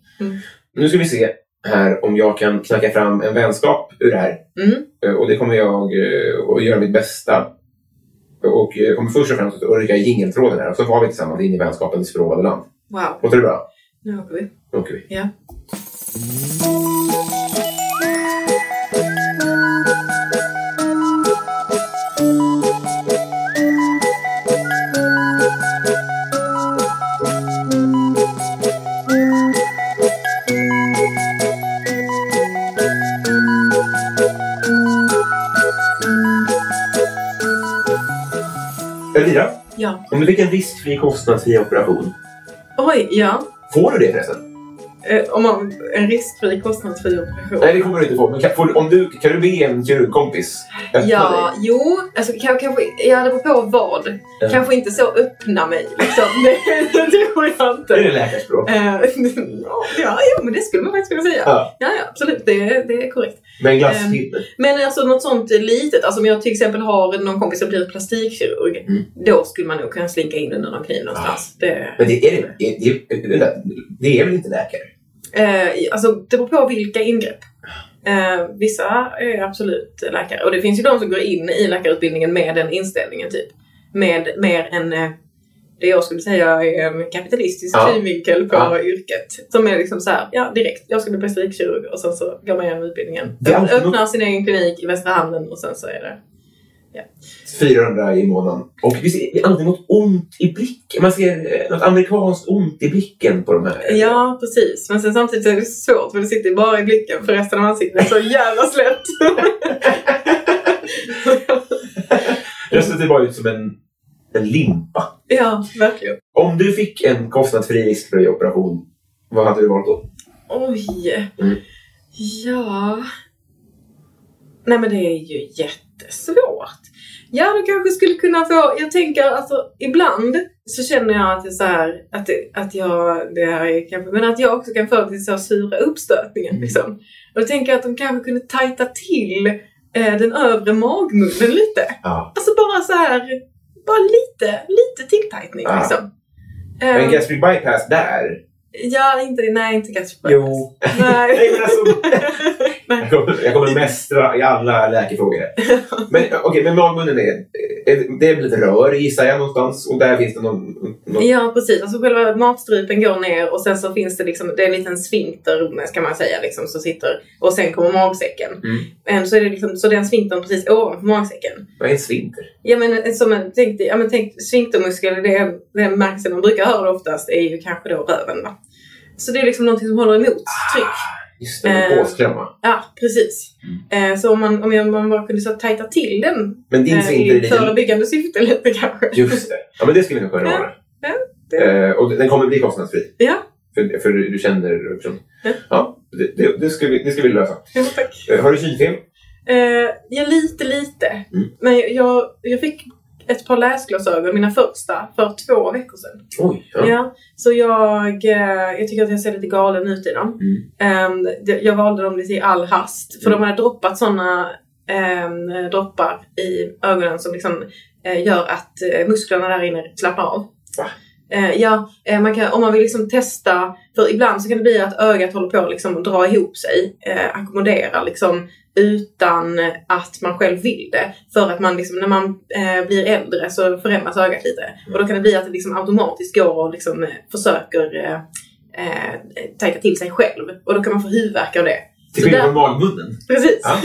[SPEAKER 1] Nu ska vi se här om jag kan knacka fram en vänskap ur det här.
[SPEAKER 2] Mm.
[SPEAKER 1] Eh, Och det kommer jag eh, att göra mitt bästa. Och eh, kommer först och främst att rycka i jingeltråden här. Och så var vi tillsammans in i vänskapens förlovade land.
[SPEAKER 2] Wow,
[SPEAKER 1] Låter det bra?
[SPEAKER 2] nu åker vi.
[SPEAKER 1] Då åker vi.
[SPEAKER 2] Ja.
[SPEAKER 1] Elvira,
[SPEAKER 2] Ja.
[SPEAKER 1] om du fick en riskfri kostnadsfri operation.
[SPEAKER 2] Oj, ja.
[SPEAKER 1] Får du det förresten?
[SPEAKER 2] Eh, om man, en riskfri kostnadsfri operation.
[SPEAKER 1] Nej, det kommer du inte få. Men kan, får du, om du, kan du be en kirurgkompis öppna
[SPEAKER 2] Ja,
[SPEAKER 1] dig?
[SPEAKER 2] jo. Alltså, kan, kanske, ja, det beror på vad.
[SPEAKER 1] Ja.
[SPEAKER 2] Kanske inte så öppna mig. Liksom. Det, det tror jag
[SPEAKER 1] Det
[SPEAKER 2] inte.
[SPEAKER 1] är det läkarspråk.
[SPEAKER 2] Eh, ja, ja, men det skulle man faktiskt kunna säga.
[SPEAKER 1] Ja.
[SPEAKER 2] ja, ja absolut. Det, det är korrekt.
[SPEAKER 1] Med en glasspinne.
[SPEAKER 2] Men alltså något sånt litet, alltså om jag till exempel har någon kompis som blir plastikkirurg,
[SPEAKER 1] Mm. Ah.
[SPEAKER 2] då skulle man nog kunna slinka in under någon kniv någonstans. Det,
[SPEAKER 1] Men det är det, det, det, det, det är väl inte läkare?
[SPEAKER 2] eh, alltså det beror på vilka ingrepp. Eh, vissa är absolut läkare och det finns ju de som går in i läkarutbildningen med den inställningen typ. Med mer en, eh, det jag skulle säga är en kapitalistisk
[SPEAKER 1] Ja.
[SPEAKER 2] synvinkel på
[SPEAKER 1] Ja.
[SPEAKER 2] yrket. Som är liksom så här, ja direkt, jag ska bli plastikkirurg och sen så går man igenom utbildningen.
[SPEAKER 1] Det är alltså alltid
[SPEAKER 2] Öppnar sin egen klinik i Västra Hamnen och sen så är det
[SPEAKER 1] 400 i månaden. Och vi ser det är alltid något ont i blicken. Man ser eh, något amerikanskt ont i blicken på de här.
[SPEAKER 2] Ja, precis. Men sen samtidigt är det svårt för det sitter ju bara i blicken för resten av ansiktet är så jävla slätt.
[SPEAKER 1] Rösten ser bara ut som en, en limpa.
[SPEAKER 2] ja, verkligen.
[SPEAKER 1] Om du fick en kostnadsfri riskfri operation, vad hade du valt då?
[SPEAKER 2] Oj.
[SPEAKER 1] Mm.
[SPEAKER 2] Ja. Nej, men det är ju jättesvårt. Ja, du kanske skulle kunna få... Jag tänker alltså, ibland så känner jag att det är så här, att, det, att jag, det här är kanske, men att jag också kan få det till så här sura uppstötningen
[SPEAKER 1] Mm.
[SPEAKER 2] liksom. Och då tänker jag att de kanske kunde tajta till eh, den övre magmunnen lite.
[SPEAKER 1] Ja.
[SPEAKER 2] Alltså bara så här, bara lite, lite tilltajtning
[SPEAKER 1] Ah.
[SPEAKER 2] liksom.
[SPEAKER 1] En
[SPEAKER 2] Ehm,
[SPEAKER 1] gastric bypass där?
[SPEAKER 2] ja, inte, nej, inte gastric bypass.
[SPEAKER 1] Jo. Nej,
[SPEAKER 2] Nej.
[SPEAKER 1] men alltså, jag,
[SPEAKER 2] nej.
[SPEAKER 1] kommer, jag kommer mästra i alla läkarfrågor. här. Men okej, men magmunnen är, är... Det är väl ett rör gissar jag någonstans. Och där finns det någon... någon
[SPEAKER 2] Ja, precis. Alltså själva matstrupen går ner och sen så finns det liksom, det är en liten sfinkter ska man säga liksom, som sitter och sen kommer magsäcken.
[SPEAKER 1] Mm.
[SPEAKER 2] Ehm, så är det liksom, så den sfinktern precis ovanför magsäcken.
[SPEAKER 1] Vad är en svinter?
[SPEAKER 2] Ja men eh, som en, tänk, dig- ja, men tänk sfinktermuskel, det är den märkelsen man brukar höra oftast är ju kanske då röven va. Så det är liksom någonting som håller emot
[SPEAKER 1] Ah.
[SPEAKER 2] tryck.
[SPEAKER 1] Just det, en
[SPEAKER 2] Eh.
[SPEAKER 1] påsklämma.
[SPEAKER 2] Ja, precis. Eh, så om man, om jag, man bara kunde så tajta till den
[SPEAKER 1] Men Mm. din
[SPEAKER 2] eh,
[SPEAKER 1] svinter är
[SPEAKER 2] i
[SPEAKER 1] lite
[SPEAKER 2] förebyggande syfte lite kanske.
[SPEAKER 1] Just det. Ja, men det skulle vi nog kunna
[SPEAKER 2] Ja,
[SPEAKER 1] ordna.
[SPEAKER 2] ja, det-
[SPEAKER 1] Eh, och den kommer bli kostnadsfri.
[SPEAKER 2] Ja.
[SPEAKER 1] För, för du känner personen.
[SPEAKER 2] Ja.
[SPEAKER 1] Ja, det, det, det, ska vi, det ska vi lösa.
[SPEAKER 2] Ja, tack.
[SPEAKER 1] Eh, har du synfel?
[SPEAKER 2] Eh, ja, lite lite.
[SPEAKER 1] Mm.
[SPEAKER 2] Men jag- jag, jag fick ett par läsglasögon, mina första, för två veckor sedan.
[SPEAKER 1] Oj. Ja.
[SPEAKER 2] Ja. så jag, eh, jag tycker att jag ser lite galen ut i dem.
[SPEAKER 1] Mm.
[SPEAKER 2] Ehm, det- jag valde dem lite i all hast, för
[SPEAKER 1] Mm.
[SPEAKER 2] de hade droppat sådana ehm, droppar i ögonen som liksom eh, gör att eh, musklerna där inne slappnar av.
[SPEAKER 1] Va?
[SPEAKER 2] Eh, ja, eh, man kan, om man vill liksom testa, för ibland så kan det bli att ögat håller på att liksom dra ihop sig, eh, ackommodera liksom utan att man själv vill det. För att man liksom, när man eh, blir äldre så förändras ögat lite.
[SPEAKER 1] Mm.
[SPEAKER 2] Och då kan det bli att det liksom automatiskt går och liksom eh, försöker eh, eh, tänka till sig själv. Och då kan man få huvudvärk av det.
[SPEAKER 1] Till
[SPEAKER 2] Så
[SPEAKER 1] skillnad
[SPEAKER 2] där-
[SPEAKER 1] från magmunnen.
[SPEAKER 2] Precis.
[SPEAKER 1] Ja.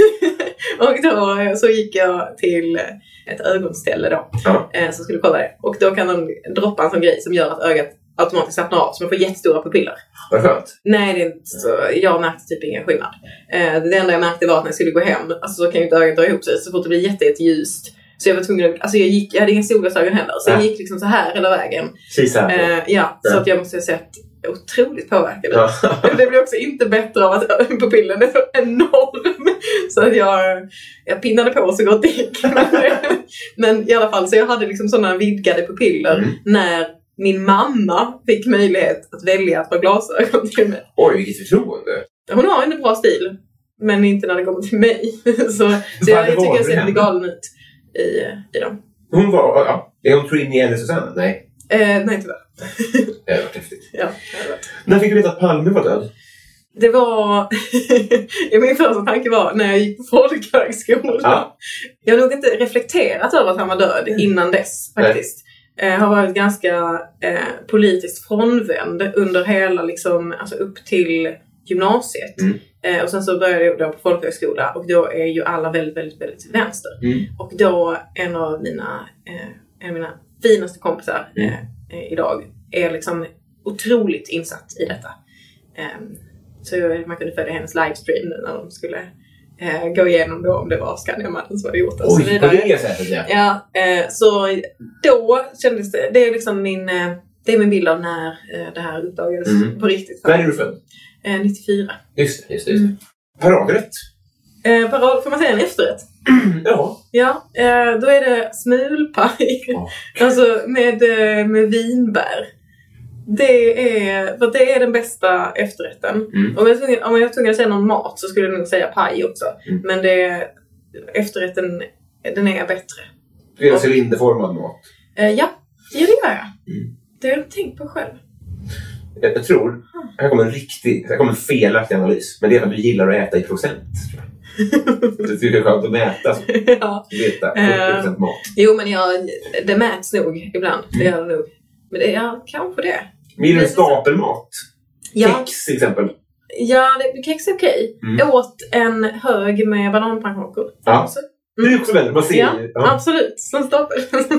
[SPEAKER 2] och då eh, så gick jag till ett ögonställe då.
[SPEAKER 1] Ja.
[SPEAKER 2] Eh, som skulle kolla det. Och då kan de droppa en sån grej som gör att ögat automatiskt slappnar av. Så man får jättestora pupiller.
[SPEAKER 1] Vad skönt.
[SPEAKER 2] Nej, det är inte så. jag märkte typ ingen skillnad. Eh, det enda jag märkte var att när jag skulle gå hem, alltså så kan ju inte ögat dra ihop sig så fort det blir jätte, jätteljust. Så jag var tvungen att, alltså jag gick, jag hade inga solglasögon heller. Så jag
[SPEAKER 1] Nej.
[SPEAKER 2] gick liksom så här hela vägen.
[SPEAKER 1] Kisa.
[SPEAKER 2] Eh, ja, så
[SPEAKER 1] Ja.
[SPEAKER 2] att jag måste ha sett otroligt påverkad ut.
[SPEAKER 1] Ja.
[SPEAKER 2] Det blir också inte bättre av att pupillen är så enorm. Så att jag, jag pinnade på så gott det gick. Men i alla fall, så jag hade liksom sådana vidgade pupiller
[SPEAKER 1] Mm.
[SPEAKER 2] när min mamma fick möjlighet att välja att ha glasögon till mig.
[SPEAKER 1] Oj, vilket förtroende.
[SPEAKER 2] Hon har en bra stil, men inte när det kommer till mig. Så, så
[SPEAKER 1] Varför
[SPEAKER 2] jag, jag tycker
[SPEAKER 1] valde
[SPEAKER 2] jag
[SPEAKER 1] du
[SPEAKER 2] ser lite
[SPEAKER 1] henne?
[SPEAKER 2] galen ut i, i dem.
[SPEAKER 1] Hon var... Ja. Är hon Trini eller Susanna? Nej.
[SPEAKER 2] Eh, nej, tyvärr.
[SPEAKER 1] Det hade varit häftigt.
[SPEAKER 2] Ja, det var-
[SPEAKER 1] När fick du veta att Palme var död?
[SPEAKER 2] Det var... ja, min första tanke var när jag gick på folkhögskolan.
[SPEAKER 1] Ja. Mm.
[SPEAKER 2] Jag har nog inte reflekterat över att han var död innan dess faktiskt. Eh, har varit ganska eh, politiskt frånvänd under hela, liksom, alltså upp till gymnasiet.
[SPEAKER 1] Mm.
[SPEAKER 2] Eh, och sen så började jag då på folkhögskola och då är ju alla väldigt, väldigt, väldigt vänster.
[SPEAKER 1] Mm.
[SPEAKER 2] Och då en av mina, eh, en av mina finaste kompisar
[SPEAKER 1] Mm.
[SPEAKER 2] eh, eh, idag är liksom otroligt insatt i detta. Ehm, så man kunde följa hennes livestream nu när de skulle eh, gå igenom då om det var Skandiamannen som hade gjort det och så
[SPEAKER 1] Oj, på
[SPEAKER 2] vidare.
[SPEAKER 1] det sättet ja.
[SPEAKER 2] Ja, eh, så då kändes det, det är liksom min, eh, det är min bild av när eh, det här uppdagades
[SPEAKER 1] Mm.
[SPEAKER 2] på riktigt.
[SPEAKER 1] När är du född?
[SPEAKER 2] Eh, 94.
[SPEAKER 1] Just det, just det. just det.
[SPEAKER 2] Mm.
[SPEAKER 1] Paradrätt.
[SPEAKER 2] Eh, parad, får man säga en efterrätt?
[SPEAKER 1] Ja.
[SPEAKER 2] Ja, eh, då är det smulpaj.
[SPEAKER 1] Ja.
[SPEAKER 2] Alltså med, eh, med vinbär. Det är, för det är den bästa efterrätten.
[SPEAKER 1] Mm.
[SPEAKER 2] Om jag var tvungen- om jag var tvungen att säga någon mat så skulle jag nog säga paj också.
[SPEAKER 1] Mm.
[SPEAKER 2] Men det är, efterrätten, den är bättre.
[SPEAKER 1] Du är en cylinderformad mat.
[SPEAKER 2] Eh, ja. ja, det gör jag.
[SPEAKER 1] Mm.
[SPEAKER 2] Det har jag inte tänkt på själv.
[SPEAKER 1] Jag, jag tror... Här kommer en riktig... Här kommer en felaktig analys. Men det är för att du gillar att äta i procent. tror jag. Du tycker det är skönt att mäta. Så.
[SPEAKER 2] ja.
[SPEAKER 1] Veta
[SPEAKER 2] Eh.
[SPEAKER 1] 70 procent mat.
[SPEAKER 2] Jo, men jag, det mäts nog ibland. Det gör det nog. Men det, ja, kanske det.
[SPEAKER 1] Men gillar du
[SPEAKER 2] Precis.
[SPEAKER 1] stapelmat?
[SPEAKER 2] Ja,
[SPEAKER 1] Kex till exempel.
[SPEAKER 2] ja det, kex är okej.
[SPEAKER 1] Mm.
[SPEAKER 2] Jag åt en hög med bananpannkakor. Alltså. Mm.
[SPEAKER 1] Ja.
[SPEAKER 2] Så
[SPEAKER 1] Du är också vänner. Man ser
[SPEAKER 2] Ja,
[SPEAKER 1] ju. Ja.
[SPEAKER 2] Absolut, som stapel.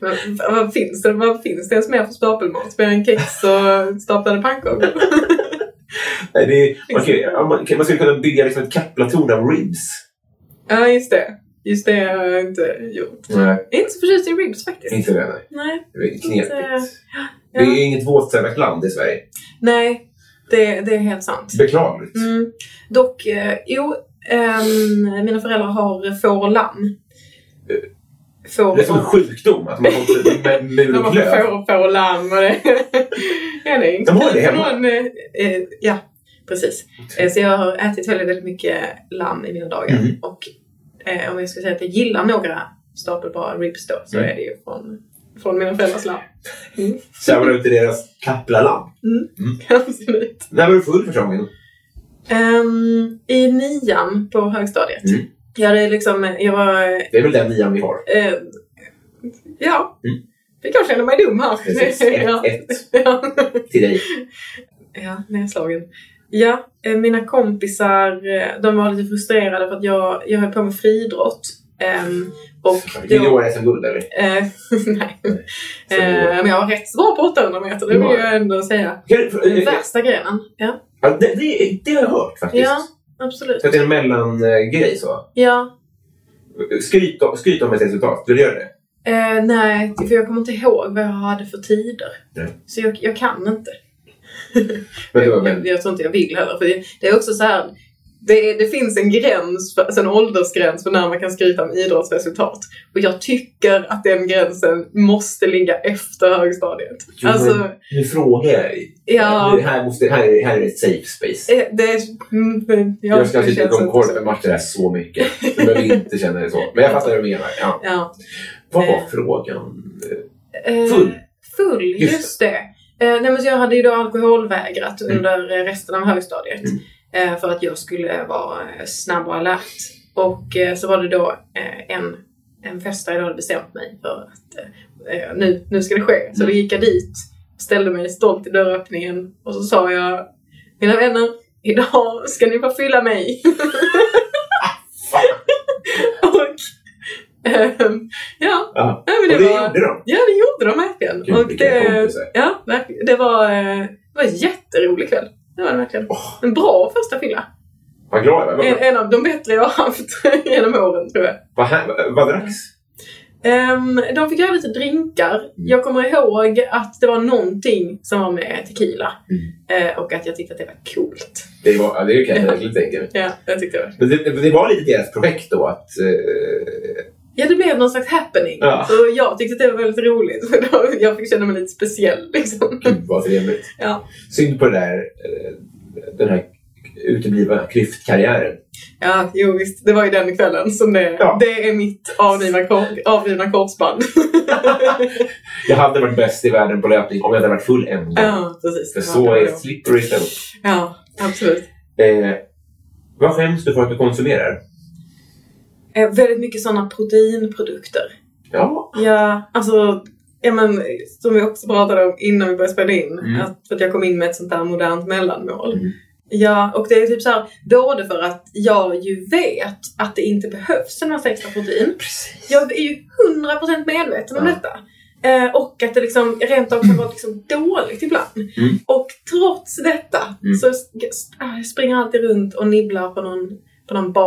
[SPEAKER 2] Men vad, finns det, vad finns det ens mer för stapelmat? Mer än kex och staplade pannkakor?
[SPEAKER 1] Nej, det är, man, kan, ju- ja, man, kan- man skulle kunna bygga liksom ett kaplatorn av ribs.
[SPEAKER 2] ja, just det. Just det har jag inte gjort.
[SPEAKER 1] Nej.
[SPEAKER 2] Jag är inte så förtjust i ribs faktiskt.
[SPEAKER 1] Inte det, nej.
[SPEAKER 2] Nej.
[SPEAKER 1] Det är
[SPEAKER 2] Inte-
[SPEAKER 1] knepigt.
[SPEAKER 2] Ja.
[SPEAKER 1] Vi Mm. är ju inget våtservert i Sverige.
[SPEAKER 2] Nej, det, det är helt sant.
[SPEAKER 1] Beklagligt.
[SPEAKER 2] Mm. Dock, eh, jo, ehm, mina föräldrar har får och lamm. Får
[SPEAKER 1] Det är som en
[SPEAKER 2] och-
[SPEAKER 1] sjukdom att man har fått med mul
[SPEAKER 2] De
[SPEAKER 1] och
[SPEAKER 2] har
[SPEAKER 1] klöv.
[SPEAKER 2] får, får och lamm och det. ja, det är inte
[SPEAKER 1] De har det
[SPEAKER 2] kul för
[SPEAKER 1] hemma.
[SPEAKER 2] någon, eh, eh, ja, precis. Eh, så jag har ätit väldigt, väldigt mycket lamm i mina dagar.
[SPEAKER 1] Mhm.
[SPEAKER 2] Och eh, om jag ska säga att jag gillar några stapelbara ribs då, så
[SPEAKER 1] Mm.
[SPEAKER 2] är det ju från, från mina föräldrars lamm.
[SPEAKER 1] Sjabblar ut i deras kaplalamp.
[SPEAKER 2] Absolut.
[SPEAKER 1] När var du full första gången?
[SPEAKER 2] Ehm, I nian på högstadiet.
[SPEAKER 1] Mm.
[SPEAKER 2] Jag hade liksom, jag var
[SPEAKER 1] Det är väl den nian vi har.
[SPEAKER 2] Eh, ja.
[SPEAKER 1] Mm.
[SPEAKER 2] Det kanske känner mig dum här.
[SPEAKER 1] Precis.
[SPEAKER 2] ja.
[SPEAKER 1] Ett, ett
[SPEAKER 2] Ja.
[SPEAKER 1] till dig.
[SPEAKER 2] ja, nedslagen. Ja, eh, mina kompisar eh, de var lite frustrerade för att jag, jag höll på med friidrott. Ehm, och då,
[SPEAKER 1] Junior-SM-guld eller?
[SPEAKER 2] eh, nej.
[SPEAKER 1] Så
[SPEAKER 2] Eh, men jag var rätt så bra på 800 meter, det vill
[SPEAKER 1] Ja.
[SPEAKER 2] jag ändå säga.
[SPEAKER 1] Kan du-
[SPEAKER 2] Den
[SPEAKER 1] för- eh,
[SPEAKER 2] värsta grenen. Ja,
[SPEAKER 1] ja, Det det- det har jag hört faktiskt.
[SPEAKER 2] ja absolut.
[SPEAKER 1] Så att det är en mellangrej så.
[SPEAKER 2] Ja.
[SPEAKER 1] Skryt om, skryt om ett resultat. Vill du göra det?
[SPEAKER 2] Eh, nej, för jag kommer inte ihåg vad jag hade för tider.
[SPEAKER 1] Nej.
[SPEAKER 2] Så jag, jag kan inte.
[SPEAKER 1] Men det var
[SPEAKER 2] jag,
[SPEAKER 1] väl...
[SPEAKER 2] jag tror inte jag vill heller. För det, det är också så här, det, är- det finns en gräns, för, alltså en åldersgräns för när man kan skryta om idrottsresultat. Och jag tycker att den gränsen måste ligga efter högstadiet.
[SPEAKER 1] Jo,
[SPEAKER 2] alltså,
[SPEAKER 1] men nu frågar jag dig.
[SPEAKER 2] ja.
[SPEAKER 1] Det här, måste, här, är- här är ett safe space.
[SPEAKER 2] eh, Det, är- mm, det, ja,
[SPEAKER 1] jag ska alltså
[SPEAKER 2] det
[SPEAKER 1] inte
[SPEAKER 2] känns
[SPEAKER 1] tycka om
[SPEAKER 2] inte så.
[SPEAKER 1] korpenmatcher här så mycket. Du behöver inte känna det så. Men jag fattar vad du menar. Ja.
[SPEAKER 2] Ja.
[SPEAKER 1] Vad var
[SPEAKER 2] Eh.
[SPEAKER 1] frågan?
[SPEAKER 2] Eh,
[SPEAKER 1] Full.
[SPEAKER 2] full,
[SPEAKER 1] Just
[SPEAKER 2] just, det. Eh, nej, men så jag hade ju då alkoholvägrat
[SPEAKER 1] Mm.
[SPEAKER 2] under eh, resten av högstadiet. Eh, för att jag skulle vara eh, snabb och alert. Och eh, så var det då eh, en, en fest där jag hade bestämt mig för att eh, eh, nu, nu ska det ske. Så då
[SPEAKER 1] Mm.
[SPEAKER 2] gick jag dit, ställde mig stolt i dörröppningen och så sa jag Mina vänner, idag ska ni få fylla mig.
[SPEAKER 1] Ah,
[SPEAKER 2] och ehm, ja,
[SPEAKER 1] Ja.
[SPEAKER 2] nej,
[SPEAKER 1] Och
[SPEAKER 2] men det,
[SPEAKER 1] det
[SPEAKER 2] var...
[SPEAKER 1] gjorde de.
[SPEAKER 2] Ja, det gjorde de verkligen.
[SPEAKER 1] Gud,
[SPEAKER 2] och
[SPEAKER 1] vilka
[SPEAKER 2] det,
[SPEAKER 1] kompisar.
[SPEAKER 2] ja, verkligen. det var, eh, det var en jätterolig kväll. Det var det verkligen.
[SPEAKER 1] Åh.
[SPEAKER 2] En bra första fylla.
[SPEAKER 1] Vad glad jag var.
[SPEAKER 2] En,
[SPEAKER 1] Vad-
[SPEAKER 2] en av de bättre jag har haft genom åren, tror jag.
[SPEAKER 1] Vad, här- vad dracks?
[SPEAKER 2] Ehm, de fick göra lite
[SPEAKER 1] Mm.
[SPEAKER 2] drinkar. Jag kommer ihåg att det var någonting som var med tequila.
[SPEAKER 1] Mm.
[SPEAKER 2] Eh, och att jag tyckte att det var coolt.
[SPEAKER 1] Det, var, ja, det kan
[SPEAKER 2] Eh.
[SPEAKER 1] jag verkligen tänka mig.
[SPEAKER 2] Ja, jag tyckte det var.
[SPEAKER 1] Men det, det var lite deras projekt då att... eh,
[SPEAKER 2] Ja, det blev någon slags happening.
[SPEAKER 1] Ja.
[SPEAKER 2] Så jag tyckte att det var väldigt roligt. För då, jag fick känna mig lite speciell, liksom.
[SPEAKER 1] Gud vad trevligt.
[SPEAKER 2] Ja.
[SPEAKER 1] Synd på det där, eh, den här uteblivna klyftkarriären.
[SPEAKER 2] Ja, jo visst. Det var ju den kvällen som det...
[SPEAKER 1] Ja.
[SPEAKER 2] Det är mitt avrivna, kor- avrivna korsband.
[SPEAKER 1] Jag hade varit bäst i världen på löpning om jag hade varit full en gång.
[SPEAKER 2] ja, precis.
[SPEAKER 1] För
[SPEAKER 2] Det var
[SPEAKER 1] så
[SPEAKER 2] det
[SPEAKER 1] är
[SPEAKER 2] då.
[SPEAKER 1] slippery slope.
[SPEAKER 2] Ja, absolut.
[SPEAKER 1] Eh, vad skäms du för att du konsumerar?
[SPEAKER 2] Eh, väldigt mycket sådana proteinprodukter.
[SPEAKER 1] Ja.
[SPEAKER 2] Ja, alltså ja, men, som vi också pratade om innan vi började spela in.
[SPEAKER 1] Mm.
[SPEAKER 2] Att, för att jag kom in med ett sånt där modernt mellanmål.
[SPEAKER 1] Mm.
[SPEAKER 2] Ja, och det är typ så här, både för att jag ju vet att det inte behövs en massa extra protein.
[SPEAKER 1] Precis.
[SPEAKER 2] Jag är ju 100% medveten om
[SPEAKER 1] Ja.
[SPEAKER 2] detta. Eh, och att det liksom rent av kan vara liksom dåligt ibland.
[SPEAKER 1] Mm.
[SPEAKER 2] Och trots detta
[SPEAKER 1] Mm.
[SPEAKER 2] så sk- ah, jag springer jag alltid runt och nibblar på någon, på någon bar.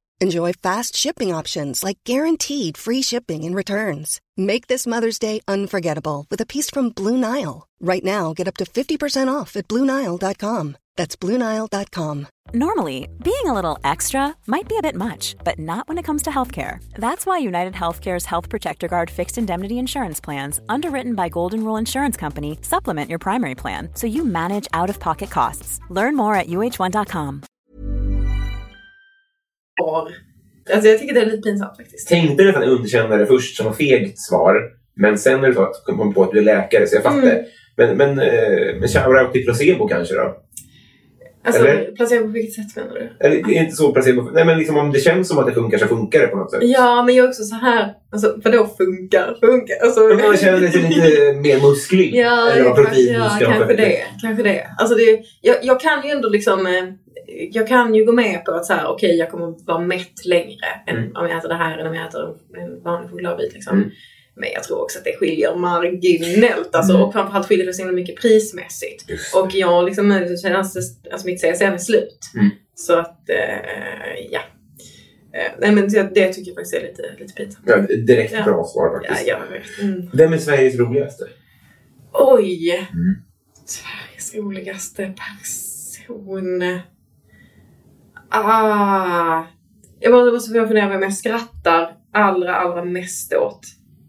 [SPEAKER 3] Enjoy fast shipping options like guaranteed free shipping and returns. Make this Mother's Day unforgettable with a piece from Blue Nile. Right now, get up to 50% off at BlueNile.com. That's BlueNile.com.
[SPEAKER 4] Normally, being a little extra might be a bit much, but not when it comes to healthcare. That's why United Healthcare's Health Protector Guard fixed indemnity insurance plans, underwritten by Golden Rule Insurance Company, supplement your primary plan so you manage out of pocket costs. Learn more at uh1.com.
[SPEAKER 2] Alltså jag tycker det är lite pinsamt faktiskt.
[SPEAKER 1] Tänkte nästan underkänna det först som ett fegt svar. Men sen när du sa att kom man på att du är läkare så jag fattar.
[SPEAKER 2] Mm.
[SPEAKER 1] Men, men, eh, men shoutout till placebo kanske då?
[SPEAKER 2] Alltså,
[SPEAKER 1] Eller?
[SPEAKER 2] placebo på vilket sätt menar du?
[SPEAKER 1] Eller det är inte så placebo. Nej men liksom om det känns som att det funkar så funkar det på något sätt.
[SPEAKER 2] Ja, men jag är också så här. Alltså, vadå funkar? Funkar? Alltså,
[SPEAKER 1] Men man känner sig lite mer musklig.
[SPEAKER 2] Ja,
[SPEAKER 1] eller vad
[SPEAKER 2] kanske,
[SPEAKER 1] protein
[SPEAKER 2] ja,
[SPEAKER 1] ska vara
[SPEAKER 2] kanske
[SPEAKER 1] för-
[SPEAKER 2] det. Kanske det. Alltså det jag, jag kan ju ändå liksom... eh, Jag kan ju gå med på att så här, okej, jag kommer vara mätt längre än
[SPEAKER 1] Mm.
[SPEAKER 2] om jag äter det här än om jag äter en vanlig chokladbit. Liksom.
[SPEAKER 1] Mm.
[SPEAKER 2] Men jag tror också att det skiljer marginellt alltså, och framförallt skiljer det så himla mycket prismässigt.
[SPEAKER 1] Mm. Just
[SPEAKER 2] Och jag liksom, eh, känner att alltså, mitt CSN är slut.
[SPEAKER 1] Mm.
[SPEAKER 2] Så att, eh, ja. Eh, nej men det, det tycker jag faktiskt är lite, lite pinsamt.
[SPEAKER 1] Ja, direkt
[SPEAKER 2] Ja.
[SPEAKER 1] bra svar
[SPEAKER 2] Ja,
[SPEAKER 1] faktiskt.
[SPEAKER 2] jag vet. Mm.
[SPEAKER 1] Vem är Sveriges roligaste?
[SPEAKER 2] Oj! Sveriges roligaste person. Ah. Jag måste- måste börja fundera vem jag skrattar allra, allra mest åt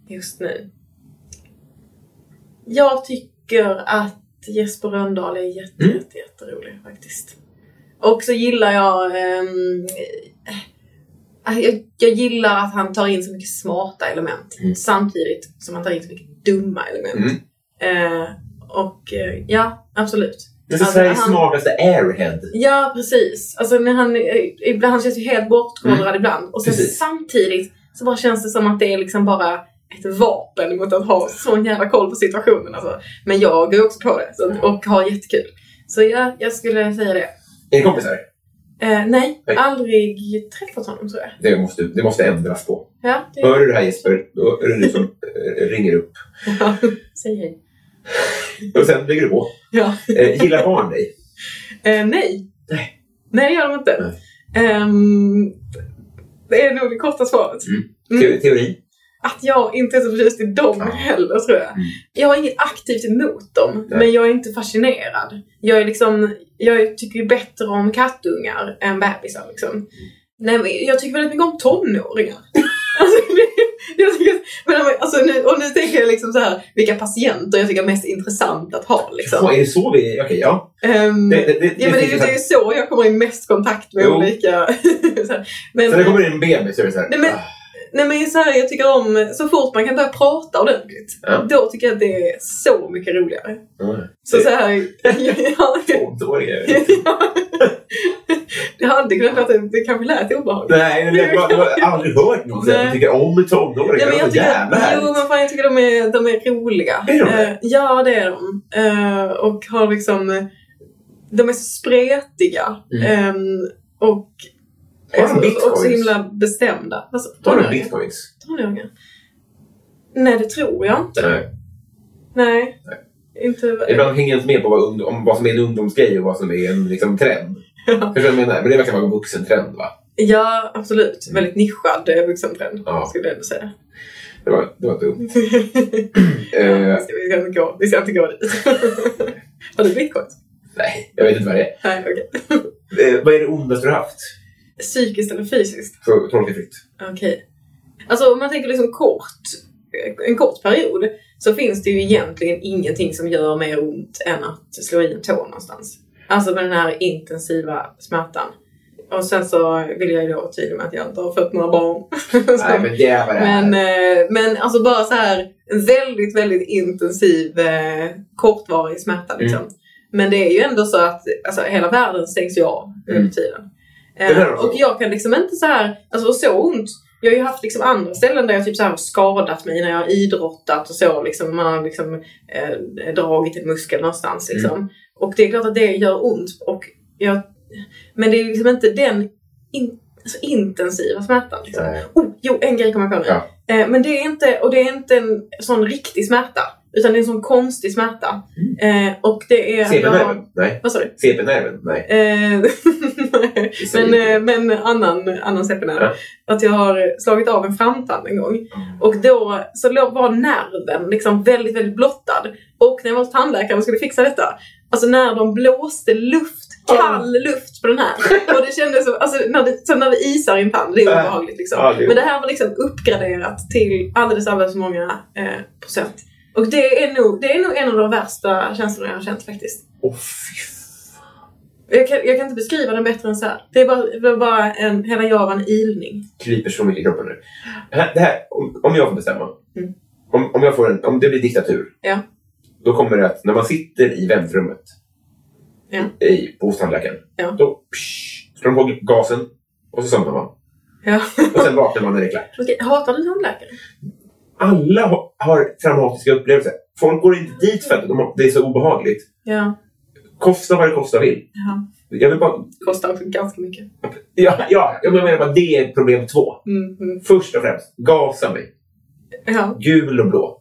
[SPEAKER 2] just nu. Jag tycker att Jesper Rönndahl är jätte,
[SPEAKER 1] Mm.
[SPEAKER 2] jätte, jätterolig faktiskt. Och så gillar jag... ehm, eh, jag, jag gillar att han tar in så mycket smarta element
[SPEAKER 1] Mm.
[SPEAKER 2] samtidigt som han tar in så mycket dumma element.
[SPEAKER 1] Mm.
[SPEAKER 2] Eh, och eh, ja, absolut.
[SPEAKER 1] Det är så
[SPEAKER 2] Alltså,
[SPEAKER 1] Sveriges
[SPEAKER 2] han-
[SPEAKER 1] smartaste airhead.
[SPEAKER 2] Ja, precis. Alltså när han, eh, ibland, han känns ju helt bortkollrad ibland. Och sen
[SPEAKER 1] Mm. Precis.
[SPEAKER 2] samtidigt så bara känns det som att det är liksom bara ett vapen mot att ha sån jävla koll på situationen. Alltså. Men jag går ju också på det
[SPEAKER 1] Mm.
[SPEAKER 2] så, och har jättekul. Så ja, jag skulle säga det.
[SPEAKER 1] Är ni kompisar?
[SPEAKER 2] Eh, nej,
[SPEAKER 1] Nej.
[SPEAKER 2] aldrig träffat honom tror jag.
[SPEAKER 1] Det måste, det måste ändras på.
[SPEAKER 2] Ja,
[SPEAKER 1] Hör
[SPEAKER 2] det
[SPEAKER 1] du det här Jesper? Då är det du som eh, ringer upp.
[SPEAKER 2] säger hej.
[SPEAKER 1] Och sen lägger du på.
[SPEAKER 2] Ja.
[SPEAKER 1] Eh, gillar barn dig?
[SPEAKER 2] Eh, nej.
[SPEAKER 1] Nej.
[SPEAKER 2] Nej, det gör de inte.
[SPEAKER 1] Nej.
[SPEAKER 2] Ehm, det är nog det korta svaret. Mm.
[SPEAKER 1] Te- Teori?
[SPEAKER 2] att jag inte är så förtjust i dem
[SPEAKER 1] Ja.
[SPEAKER 2] heller tror jag.
[SPEAKER 1] Mm.
[SPEAKER 2] Jag har inget aktivt emot dem,
[SPEAKER 1] Nej.
[SPEAKER 2] men jag är inte fascinerad. Jag, är liksom, jag tycker ju bättre om kattungar än bebisar liksom. Nej, men jag tycker väldigt mycket om tonåringar. alltså, Men om- alltså, nu, och nu tänker jag liksom så här, vilka patienter jag tycker är mest intressant att ha. Liksom.
[SPEAKER 1] Ja, är det så vi... Okej, ja.
[SPEAKER 2] Ehm,
[SPEAKER 1] Det- det- det-
[SPEAKER 2] ja, men det, är ju- det är ju så jag kommer i mest kontakt med
[SPEAKER 1] Jo.
[SPEAKER 2] olika... så här. men,
[SPEAKER 1] Sen när det kommer in en bebis så är det så här... "Ah,
[SPEAKER 2] Nej, men- nej, men så här, jag tycker om, så fort man kan börja prata ordentligt,
[SPEAKER 1] Ja.
[SPEAKER 2] då tycker jag att det är så mycket roligare.
[SPEAKER 1] ah, mm.
[SPEAKER 2] Så, så här, ja, det,
[SPEAKER 1] Tvååringar.
[SPEAKER 2] det hade kunnat vara, typ, det, det kanske lät obehagligt.
[SPEAKER 1] Nej, men jag har- jag har aldrig hört någon säga att de
[SPEAKER 2] Nej.
[SPEAKER 1] tycker om tonåringar.
[SPEAKER 2] Nej, men
[SPEAKER 1] Det är
[SPEAKER 2] jag
[SPEAKER 1] så jävla
[SPEAKER 2] tycker, jo,
[SPEAKER 1] härligt.
[SPEAKER 2] men fan, jag tycker de är, de är roliga.
[SPEAKER 1] Är de det?
[SPEAKER 2] Eh, ja, det är de. Eh, och har liksom... eh, De är så spretiga. Ehm, och,
[SPEAKER 1] Mm. Har de
[SPEAKER 2] och- och så
[SPEAKER 1] bitcoins?
[SPEAKER 2] himla bestämda. Alltså,
[SPEAKER 1] Tar de
[SPEAKER 2] tonåringar-
[SPEAKER 1] bitcoins?
[SPEAKER 2] tonåringar? Nej, det tror jag inte.
[SPEAKER 1] Nej.
[SPEAKER 2] Nej. Inte...
[SPEAKER 1] Ibland hänger jag inte med på vad, ungdom, om vad som är en ungdomsgrej och vad som är en liksom, trend. Förstår du vad jag menar? Men det verkar vara en vuxentrend, va?
[SPEAKER 2] Ja, absolut. Väldigt nischad eh, vuxentrend,
[SPEAKER 1] Mm. Ja.
[SPEAKER 2] skulle jag ändå säga.
[SPEAKER 1] Det var, det var dumt. Eh,
[SPEAKER 2] Vi ska- Vi ska inte gå, vi ska inte gå dit. Har du bitcoins?
[SPEAKER 1] nej, jag vet inte vad det är.
[SPEAKER 2] Nej, okej.
[SPEAKER 1] Eh, vad är det ondaste du har haft?
[SPEAKER 2] Psykiskt eller fysiskt?
[SPEAKER 1] För tolka fritt.
[SPEAKER 2] Okej. Alltså om man tänker liksom kort, eh, en kort period så finns det ju egentligen ingenting som gör mer ont än att slå i en tå någonstans. Alltså med den här intensiva smärtan. Och sen så vill jag ju då vara tydlig med att jag inte har fött några barn. Så-
[SPEAKER 1] Nej, men det är vad det är.
[SPEAKER 2] men, eh, men alltså bara så här en väldigt, väldigt intensiv eh, kortvarig smärta liksom.
[SPEAKER 1] Mm.
[SPEAKER 2] Men det är ju ändå så att alltså, hela världen stängs ju av under tiden.
[SPEAKER 1] Mm. Det där
[SPEAKER 2] Eh,
[SPEAKER 1] är
[SPEAKER 2] och
[SPEAKER 1] så.
[SPEAKER 2] jag kan liksom inte så här, alltså så ont. Jag har ju haft liksom andra ställen där jag typ så här har skadat mig när jag har idrottat och så liksom. Man har liksom eh, dragit en muskel någonstans
[SPEAKER 1] Mm.
[SPEAKER 2] liksom. Och det är klart att det gör ont. Och jag, men det är liksom inte den in, alltså intensiva smärtan. Liksom.
[SPEAKER 1] Nej.
[SPEAKER 2] Oh, jo, en grej kommer jag på nu.
[SPEAKER 1] Ja.
[SPEAKER 2] Eh, men det är, inte, och det är inte en sån riktig smärta. Utan det är en sån konstig smärta. Eh, och det är...
[SPEAKER 1] CP-nerven? Nej.
[SPEAKER 2] Vad sa du?
[SPEAKER 1] CP-nerven? Nej.
[SPEAKER 2] Eh, men, eh, men annan, annan
[SPEAKER 1] Ja. Mm.
[SPEAKER 2] sepinär. Att jag har slagit av en framtand en gång. Och då så låg- var nerven liksom väldigt, väldigt blottad. Och när jag var hos tandläkaren och skulle fixa detta. Alltså när de blåste luft, kall luft på den här. Och det kändes som, alltså när det, som när det isar i en tand, det är
[SPEAKER 1] Ja.
[SPEAKER 2] obehagligt liksom.
[SPEAKER 1] Äh. Ja, det är-
[SPEAKER 2] Men det här var liksom uppgraderat till alldeles, alldeles för många eh, procent. Och det är, nog, det är nog en av de värsta känslorna jag har känt faktiskt.
[SPEAKER 1] Åh, fy fan.
[SPEAKER 2] Jag kan, jag kan inte beskriva den bättre än så här. Det är bara, det var bara en, hela jag var en ilning.
[SPEAKER 1] kryper så mycket i kroppen nu. Det här, det här, om, om jag får bestämma.
[SPEAKER 2] Mm.
[SPEAKER 1] Om, om, jag får en, om det blir diktatur.
[SPEAKER 2] Ja.
[SPEAKER 1] Då kommer det att när man sitter i väntrummet
[SPEAKER 2] Ja.
[SPEAKER 1] i, på hos tandläkaren.
[SPEAKER 2] Ja.
[SPEAKER 1] Då psh, slår de på gasen och så somnar man.
[SPEAKER 2] Ja.
[SPEAKER 1] Och sen vaknar man när det är klart.
[SPEAKER 2] Okej, hatar du tandläkare?
[SPEAKER 1] Alla har, har traumatiska upplevelser. Folk går inte dit för att de, har- det är så obehagligt.
[SPEAKER 2] Ja.
[SPEAKER 1] Kosta vad det kosta vill.
[SPEAKER 2] ja.
[SPEAKER 1] Jag vill bara...
[SPEAKER 2] Kostar också ganska mycket.
[SPEAKER 1] Ja, ja, jag menar bara det är problem två.
[SPEAKER 2] Mm. mm.
[SPEAKER 1] Först och främst, gasa mig.
[SPEAKER 2] Ja.
[SPEAKER 1] gul och blå.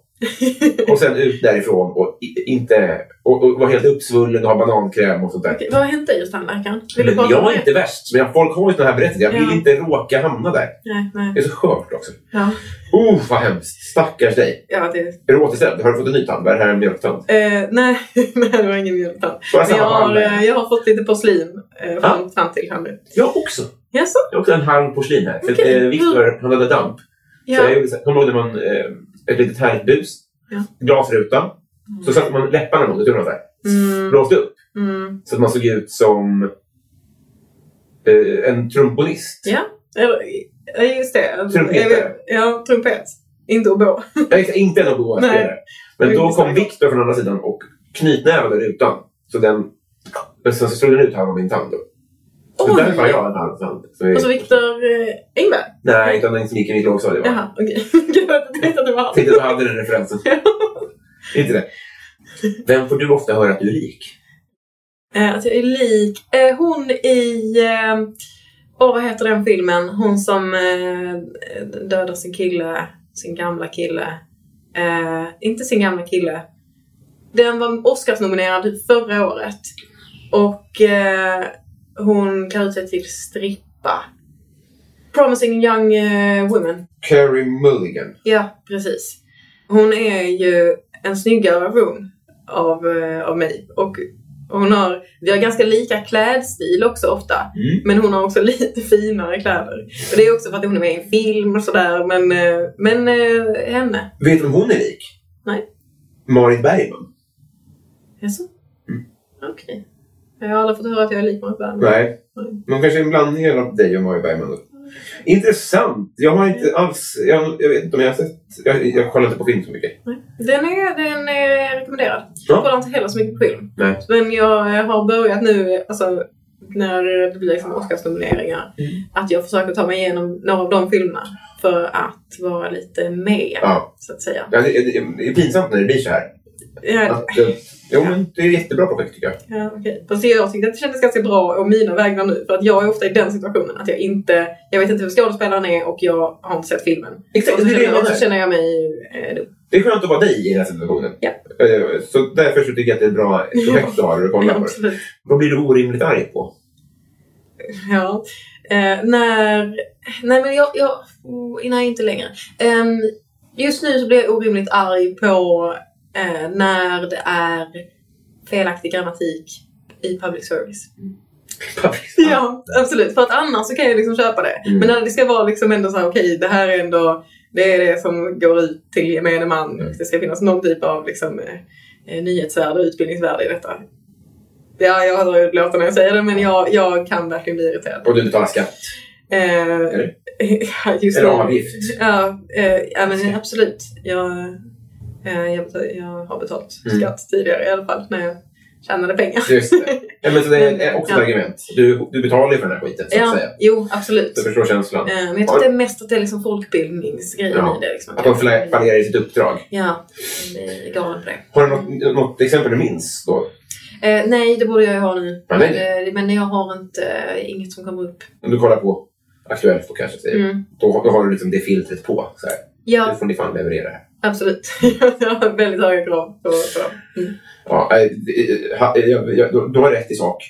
[SPEAKER 1] Och sen ut därifrån och, i- inte, och, och vara helt uppsvullen och ha banankräm och sånt där.
[SPEAKER 2] Okej, vad har hänt dig hos tandläkaren? Vill du
[SPEAKER 1] Men
[SPEAKER 2] bara
[SPEAKER 1] jag är inte värst, men jag- folk har ju såna här berättelser. Jag vill
[SPEAKER 2] Ja.
[SPEAKER 1] inte råka hamna där.
[SPEAKER 2] Nej,
[SPEAKER 1] Det
[SPEAKER 2] nej.
[SPEAKER 1] är så skört också.
[SPEAKER 2] Ja,
[SPEAKER 1] Oh, vad hemskt. Stackars dig.
[SPEAKER 2] ja det...
[SPEAKER 1] Är du återställd? Har du fått en ny tand? Är det här en mjölktand?
[SPEAKER 2] Eh, nej, nej, det var ingen mjölktand.
[SPEAKER 1] Bara
[SPEAKER 2] Men
[SPEAKER 1] samma
[SPEAKER 2] jag har,
[SPEAKER 1] tand.
[SPEAKER 2] eh, jag har fått lite porslin eh, fram, fram till här nu.
[SPEAKER 1] Jag också.
[SPEAKER 2] Jaså?
[SPEAKER 1] Jag har också en halv porslin här. För
[SPEAKER 2] Okej.
[SPEAKER 1] eh, Viktor, han hade damp. Så jag
[SPEAKER 2] Ja.
[SPEAKER 1] gjorde så här, kommer du ihåg när man, eh, ett litet härligt bus,
[SPEAKER 2] Ja.
[SPEAKER 1] glasruta. Så satte man läpparna mot returglaset så här.
[SPEAKER 2] Mm.
[SPEAKER 1] Blåste upp.
[SPEAKER 2] Mm.
[SPEAKER 1] Så att man såg ut som eh, en trombonist.
[SPEAKER 2] Ja, eller... Ja, just det.
[SPEAKER 1] Trumpetare.
[SPEAKER 2] Ja, trumpet. Inte oboe.
[SPEAKER 1] Nej, inte en oboaspelare. Men
[SPEAKER 2] Det är
[SPEAKER 1] då
[SPEAKER 2] inte
[SPEAKER 1] kom
[SPEAKER 2] sant.
[SPEAKER 1] Viktor från andra sidan och knytnävade rutan. Så den... Men sen så slog den ut halva min tand då. Så
[SPEAKER 2] Oj!
[SPEAKER 1] där har jag en halv tand. Så vi-
[SPEAKER 2] Och så Viktor eh, Engberg.
[SPEAKER 1] Nej, utan den som gick i mitt lågstadie. va?
[SPEAKER 2] Jaha, okej. Gud, jag tänkte att det var
[SPEAKER 1] Jag
[SPEAKER 2] han.
[SPEAKER 1] Tänkte att du hade den referensen. inte det. Vem får du ofta höra att du är lik?
[SPEAKER 2] Eh, Att jag är lik. Eh, Hon i... eh, Åh, vad heter den filmen? Hon som eh, dödar sin kille, sin gamla kille. Eh, inte sin gamla kille. Den var Oscarsnominerad förra året. Och eh, hon klär ut sig till strippa. Promising young eh, woman.
[SPEAKER 1] Carrie Mulligan.
[SPEAKER 2] Ja, precis. Hon är ju en snyggare version av, eh, av mig. Och Och hon har, vi har ganska lika klädstil också ofta.
[SPEAKER 1] Mm.
[SPEAKER 2] Men hon har också lite finare kläder. Och det är också för att hon är med i en film och sådär. Men, eh, men eh, henne.
[SPEAKER 1] Vet du om hon är lik?
[SPEAKER 2] Nej.
[SPEAKER 1] Marit Bergman?
[SPEAKER 2] Jaså?
[SPEAKER 1] Mm.
[SPEAKER 2] Okej. Jag har aldrig fått höra att jag är lik Marit Bergman.
[SPEAKER 1] Nej. Men kanske en blandning av dig och Marit Bergman. då. Intressant. Jag har inte alls... Jag, jag vet inte om jag har sett... Jag, jag kollar inte på film så mycket.
[SPEAKER 2] Den är, den är rekommenderad. Jag
[SPEAKER 1] Ja.
[SPEAKER 2] kollar inte heller så mycket på film.
[SPEAKER 1] Nej.
[SPEAKER 2] Men jag eh, har börjat nu, alltså när det blir liksom Oscarsnomineringar,
[SPEAKER 1] Mm.
[SPEAKER 2] att jag försöker ta mig igenom några av de filmerna för att vara lite med,
[SPEAKER 1] Ja.
[SPEAKER 2] så att säga.
[SPEAKER 1] Ja, det, det, det är pinsamt när det blir så här.
[SPEAKER 2] Ja,
[SPEAKER 1] Att, eh, jo, men det är jättebra projekt tycker jag.
[SPEAKER 2] ja, okej. Fast jag tyckte att det kändes ganska bra och mina vägnar nu, för att jag är ofta i den situationen att jag inte, jag vet inte hur skådespelaren är och jag har inte sett filmen.
[SPEAKER 1] Exakt,
[SPEAKER 2] och så,
[SPEAKER 1] det är det jag
[SPEAKER 2] känner, och
[SPEAKER 1] menar.
[SPEAKER 2] så känner jag mig eh, dum.
[SPEAKER 1] Det är skönt att vara dig i den här situationen.
[SPEAKER 2] Ja.
[SPEAKER 1] Eh, Så därför så tycker jag att det är ett bra projekt du har att kolla på.
[SPEAKER 2] Absolut.
[SPEAKER 1] Vad blir du orimligt arg på?
[SPEAKER 2] Ja. Eh, när... Nej men jag... jag oh, nej, inte längre. Ehm, just nu så blir jag orimligt arg på eh, när det är felaktig grammatik i public service. Ja, absolut. För att annars så kan jag liksom köpa det.
[SPEAKER 1] Mm.
[SPEAKER 2] Men när det ska vara liksom ändå så här, okej, det här är ändå det, är det som går ut till gemene man.
[SPEAKER 1] Mm.
[SPEAKER 2] Det ska finnas någon typ av liksom, eh, eh, nyhetsvärde och utbildningsvärde i detta. Ja, jag har dragit låten när jag säger det, men jag, jag kan verkligen bli irriterad.
[SPEAKER 1] Och du betalar skatt. Mm.
[SPEAKER 2] Eh,
[SPEAKER 1] Eller?
[SPEAKER 2] ja, just
[SPEAKER 1] Eller
[SPEAKER 2] det.
[SPEAKER 1] avgift.
[SPEAKER 2] Ja, eh, ja men absolut. Jag, eh, jag, betal, jag har betalt
[SPEAKER 1] Mm.
[SPEAKER 2] skatt tidigare i alla fall när jag tjänade pengar.
[SPEAKER 1] Just det. Ja, men så det är också ett
[SPEAKER 2] Mm, Ja.
[SPEAKER 1] argument. Du, du betalar ju för den här skiten, så att
[SPEAKER 2] Ja,
[SPEAKER 1] säga.
[SPEAKER 2] jo, absolut.
[SPEAKER 1] Du förstår känslan.
[SPEAKER 2] Eh, Men jag tror att det är mest att det är liksom folkbildningsgrejen
[SPEAKER 1] Ja.
[SPEAKER 2] i det. Liksom.
[SPEAKER 1] Att de fla- fallerar i sitt uppdrag.
[SPEAKER 2] Ja, jag är galen på det.
[SPEAKER 1] Har du något, något exempel du minns då?
[SPEAKER 2] Eh, nej, det borde jag ju ha nu.
[SPEAKER 1] Ja, nej.
[SPEAKER 2] Eh, men jag har inte, eh, inget som kommer upp.
[SPEAKER 1] Om du kollar på Aktuellt på kanske, säger.
[SPEAKER 2] Mm.
[SPEAKER 1] Då, då har du liksom det filtret på. Så här. Nu
[SPEAKER 2] Ja,
[SPEAKER 1] får ni fan leverera här.
[SPEAKER 2] absolut. jag har väldigt höga krav på, på dem. Mm.
[SPEAKER 1] Ja, eh, eh, ha- eh, jag, jag, du, du har rätt i sak.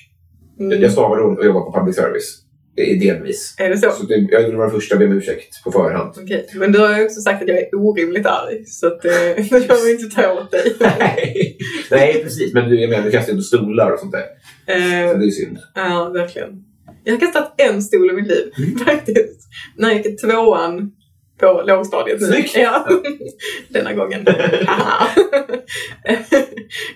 [SPEAKER 2] Mm.
[SPEAKER 1] Jag stavar roligt och jobbar på public service. Eh, Delvis.
[SPEAKER 2] Är det så?
[SPEAKER 1] Så det, jag vill vara den första att be om ursäkt på förhand.
[SPEAKER 2] Okej, men du har ju också sagt att jag är orimligt arg. Så att, eh, jag behöver inte ta åt dig.
[SPEAKER 1] Nej. Nej, precis. Men du, jag menar, du kastar ju inte stolar och sånt där. Så
[SPEAKER 2] Eh,
[SPEAKER 1] det är synd.
[SPEAKER 2] Ja, verkligen. Jag har kastat en stol i mitt liv,
[SPEAKER 1] Mm.
[SPEAKER 2] faktiskt. När jag gick i tvåan på lågstadiet. nu.
[SPEAKER 1] Snyggt!
[SPEAKER 2] Ja. Denna gången. Haha.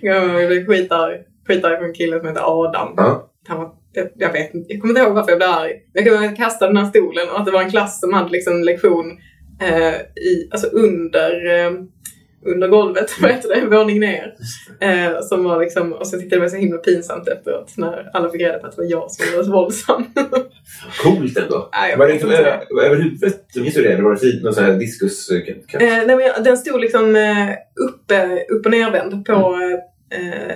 [SPEAKER 2] jag blev skitarg. Skitarg på en kille som heter Adam.
[SPEAKER 1] Ja.
[SPEAKER 2] Han var, jag, jag vet inte, jag kommer inte ihåg varför jag blev arg. Jag kommer ihåg att jag kastade den här stolen och att det var en klass som hade liksom lektion eh, i, alltså under, eh, under golvet, vad heter det, en våning ner. Eh, som var liksom, och så tyckte jag det var så himla pinsamt eftemt när alla fick reda på att det var jag som var så våldsam.
[SPEAKER 1] Coolt ändå.
[SPEAKER 2] Nej, jag
[SPEAKER 1] var det
[SPEAKER 2] vet
[SPEAKER 1] liksom
[SPEAKER 2] inte.
[SPEAKER 1] över, över huvudet? Minns du det? Eller var det fint? Någon sån här diskus...
[SPEAKER 2] eh, nej, men jag, den stod liksom eh, uppe, upp och nervänd på eh,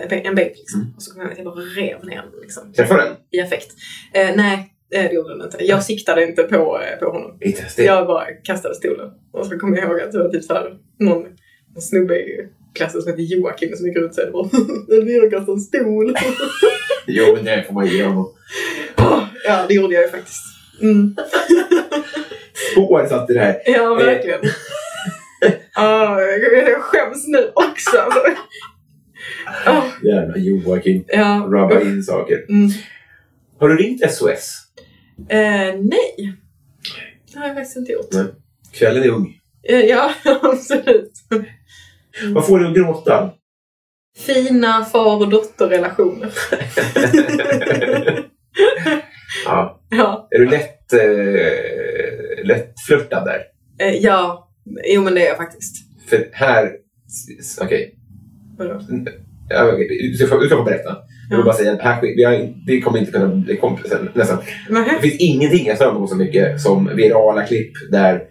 [SPEAKER 2] en bänk- en bänk. Liksom. Och så kom jag ihåg att jag bara rev ner den liksom,
[SPEAKER 1] Mm. Träffade den?
[SPEAKER 2] i affekt. Eh, nej, eh, det gjorde den inte. Jag siktade inte på, eh, på honom.
[SPEAKER 1] Inte ens det.
[SPEAKER 2] Jag bara kastade stolen. Och så kommer jag ihåg att det var typ så här, någon, någon snubbe i klassen som heter Joakim som gick runt och bara Elvira kastade en stol.
[SPEAKER 1] Jo, men det får man ge honom.
[SPEAKER 2] ja, det gjorde jag ju faktiskt. Mm.
[SPEAKER 1] Spår satt i det här.
[SPEAKER 2] Ja, verkligen. Ah, jag jag skäms nu också. alltså. Ah,
[SPEAKER 1] Jävla Joakim.
[SPEAKER 2] ja.
[SPEAKER 1] Rabba in saker.
[SPEAKER 2] Mm.
[SPEAKER 1] Har du ringt SOS?
[SPEAKER 2] Eh, nej, det har jag faktiskt inte gjort.
[SPEAKER 1] Nej. Kvällen är ung.
[SPEAKER 2] Eh, ja, absolut.
[SPEAKER 1] Vad får du att gråta?
[SPEAKER 2] Fina far och dotterrelationer.
[SPEAKER 1] ja.
[SPEAKER 2] ja.
[SPEAKER 1] Är du lätt, eh, lätt flörtad där?
[SPEAKER 2] Eh, ja, jo men det är jag faktiskt.
[SPEAKER 1] För här... s- Okej.
[SPEAKER 2] Vadå?
[SPEAKER 1] Ja, okej. Du ska, få- du ska få berätta. Jag vill
[SPEAKER 2] Ja.
[SPEAKER 1] bara säga att här, sker- vi har, det kommer inte kunna bli kompisar nästan.
[SPEAKER 2] Nähä.
[SPEAKER 1] Det finns ingenting jag stör mig på så mycket som virala klipp där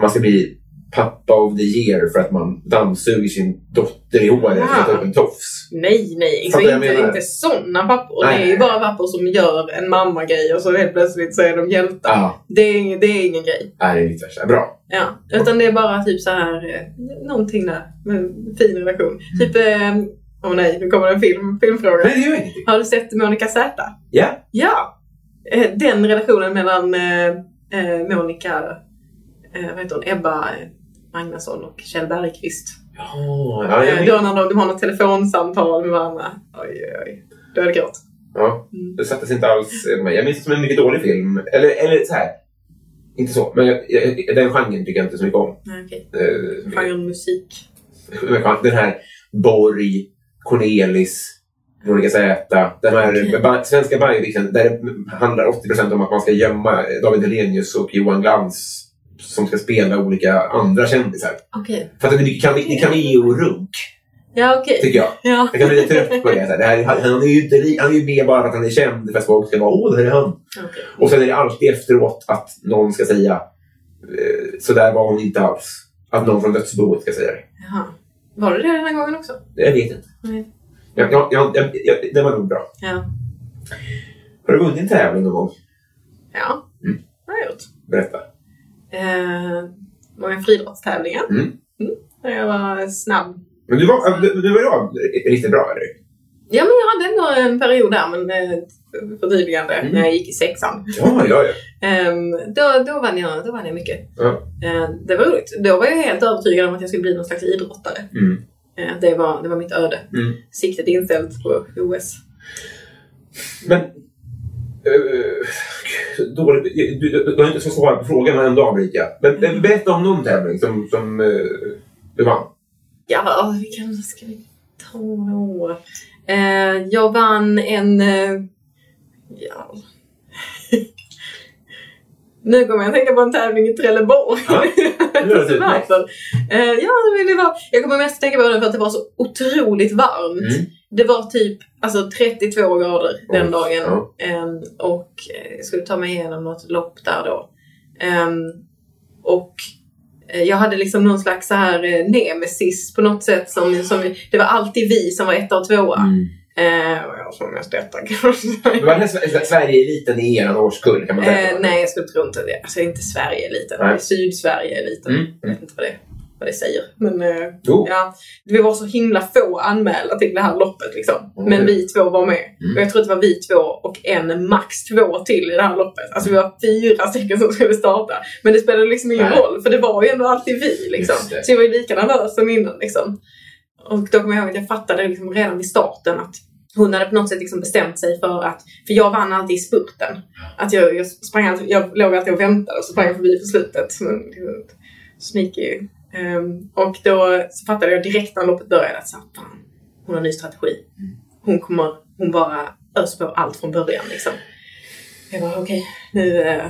[SPEAKER 1] man ska bli pappa of the year för att man dammsuger sin dotter i håret för att ta upp en tofs.
[SPEAKER 2] Nej, nej. Så
[SPEAKER 1] Fattar jag
[SPEAKER 2] inte,
[SPEAKER 1] menar?
[SPEAKER 2] inte sådana pappor.
[SPEAKER 1] Nej.
[SPEAKER 2] Det är ju bara pappor som gör en mammagrej och så helt plötsligt så är de hjältar.
[SPEAKER 1] Ja,
[SPEAKER 2] Det, är, ing- det är ingen grej.
[SPEAKER 1] ah, det är mitt värsta. Bra.
[SPEAKER 2] Ja. Utan det är bara typ så här eh, någonting där med en fin relation. Typ, eh, åh nej, nu kommer en film, filmfråga.
[SPEAKER 1] Mm. Nej, det gör ingenting.
[SPEAKER 2] Har du sett Monica Z?
[SPEAKER 1] Ja.
[SPEAKER 2] Ja! Eh, Den relationen mellan eh, eh, Monica, eh, vad heter hon, Ebba eh, Magnusson och Kjell Bergqvist.
[SPEAKER 1] Ja, ja,
[SPEAKER 2] Eh, Då
[SPEAKER 1] jag
[SPEAKER 2] när de, de har något telefonsamtal med varandra. Oj, oj, oj. Då hade jag grått.
[SPEAKER 1] Ja, det sattes inte alls med mig. Jag minns det som en mycket dålig film. Eller, eller så här. Inte så, men jag, jag, den genren tycker jag inte så mycket om.
[SPEAKER 2] Nej, okej.
[SPEAKER 1] Eh,
[SPEAKER 2] Genren musik.
[SPEAKER 1] Den här Borg, Cornelis, Veronica Zäta. Den här ba- svenska Bajen där det handlar 80 om att man ska gömma David Hellenius och Johan Glans som ska spela olika andra kändisar.
[SPEAKER 2] Okej.
[SPEAKER 1] För att det är mycket kame- det är cameo-runk,
[SPEAKER 2] Ja, okej.
[SPEAKER 1] tycker jag.
[SPEAKER 2] Ja.
[SPEAKER 1] Jag kan bli lite trött på det. Så här, det här han, han, är ju inte, li- han är ju med bara för att han är känd för att folk ska vara åh, det här är han.
[SPEAKER 2] Okej.
[SPEAKER 1] Och sen är det alltid efteråt att någon ska säga eh, så där var hon inte alls. Att någon från dödsboet ska säga det.
[SPEAKER 2] Jaha. Var det det den här gången också?
[SPEAKER 1] Jag vet inte.
[SPEAKER 2] Nej.
[SPEAKER 1] Jag, jag, jag, jag, jag, det var nog bra.
[SPEAKER 2] Ja.
[SPEAKER 1] Har du vunnit en tävling någon gång?
[SPEAKER 2] Ja. Det har jag gjort.
[SPEAKER 1] Berätta.
[SPEAKER 2] Eh, det var en friidrottstävling.
[SPEAKER 1] Mm.
[SPEAKER 2] Där jag var snabb.
[SPEAKER 1] Men du var, du, du var idag riktigt bra, eller?
[SPEAKER 2] Ja, men jag hade ändå en period där, men eh, förtydligande, när jag gick i sexan.
[SPEAKER 1] Ja, ja, ja.
[SPEAKER 2] Ehm, då, då, vann jag, då vann jag mycket.
[SPEAKER 1] ja.
[SPEAKER 2] Eh, det var roligt. Då var jag helt övertygad om att jag skulle bli någon slags idrottare.
[SPEAKER 1] Mm.
[SPEAKER 2] Eh, det, var, det var mitt öde.
[SPEAKER 1] Mm.
[SPEAKER 2] Siktet inställt på OS.
[SPEAKER 1] Men... eh, gud, dåligt. Du, du, du har inte fått svara på frågan men ändå avbryter jag. Men men berätta om någon tävling som, som eh, du vann.
[SPEAKER 2] Ja, vi kan... Ska vi ta då? Eh, jag vann en... Eh, ja. nu kommer jag att tänka på en tävling i Trelleborg.
[SPEAKER 1] Ja, det låter utmärkt.
[SPEAKER 2] Varför? eh, ja, det ville vara... Jag kommer mest tänka på den för att det var så otroligt varmt.
[SPEAKER 1] Mm.
[SPEAKER 2] Det var typ alltså, 32 grader den
[SPEAKER 1] Oj,
[SPEAKER 2] dagen.
[SPEAKER 1] ja.
[SPEAKER 2] Ehm, och eh, jag skulle ta mig igenom något lopp där då. Ehm, och eh, jag hade liksom någon slags så här eh, nemesis på något sätt. Som, som, det var alltid vi som var etta och tvåa.
[SPEAKER 1] Mm.
[SPEAKER 2] Eh, och jag som mest etta kan man säga.
[SPEAKER 1] Men var den här Sve- Sverige-eliten i er årskull? Kan man säga.
[SPEAKER 2] Eh, nej, jag skulle tro inte det. Alltså inte Sverige lite.
[SPEAKER 1] Nej.
[SPEAKER 2] Sydsverige lite.
[SPEAKER 1] Mm,
[SPEAKER 2] Jag vet inte vad det, vad det säger. Men eh,
[SPEAKER 1] Jo.
[SPEAKER 2] ja, vi var så himla få anmälda till det här loppet liksom.
[SPEAKER 1] Mm.
[SPEAKER 2] Men vi två var med. Och jag tror att det var vi två och en, max två till i det här loppet. Alltså vi var fyra stycken som skulle starta. Men det spelade liksom ingen
[SPEAKER 1] Nej.
[SPEAKER 2] roll, för det var ju ändå alltid vi liksom.
[SPEAKER 1] Just det.
[SPEAKER 2] Så jag var ju lika nervös som innan liksom. Och då kommer jag ihåg att jag fattade liksom redan vid starten att hon hade på något sätt liksom bestämt sig för att, för jag vann alltid i spurten. Att jag, jag sprang alltid, jag låg alltid och väntade och så sprang jag förbi på slutet. Men det var Sneaky. Um, och då så fattade jag direkt när loppet började att så här, fan, hon har en ny strategi. Hon kommer, hon bara öser på allt från början liksom. Jag bara okej, nu, eh,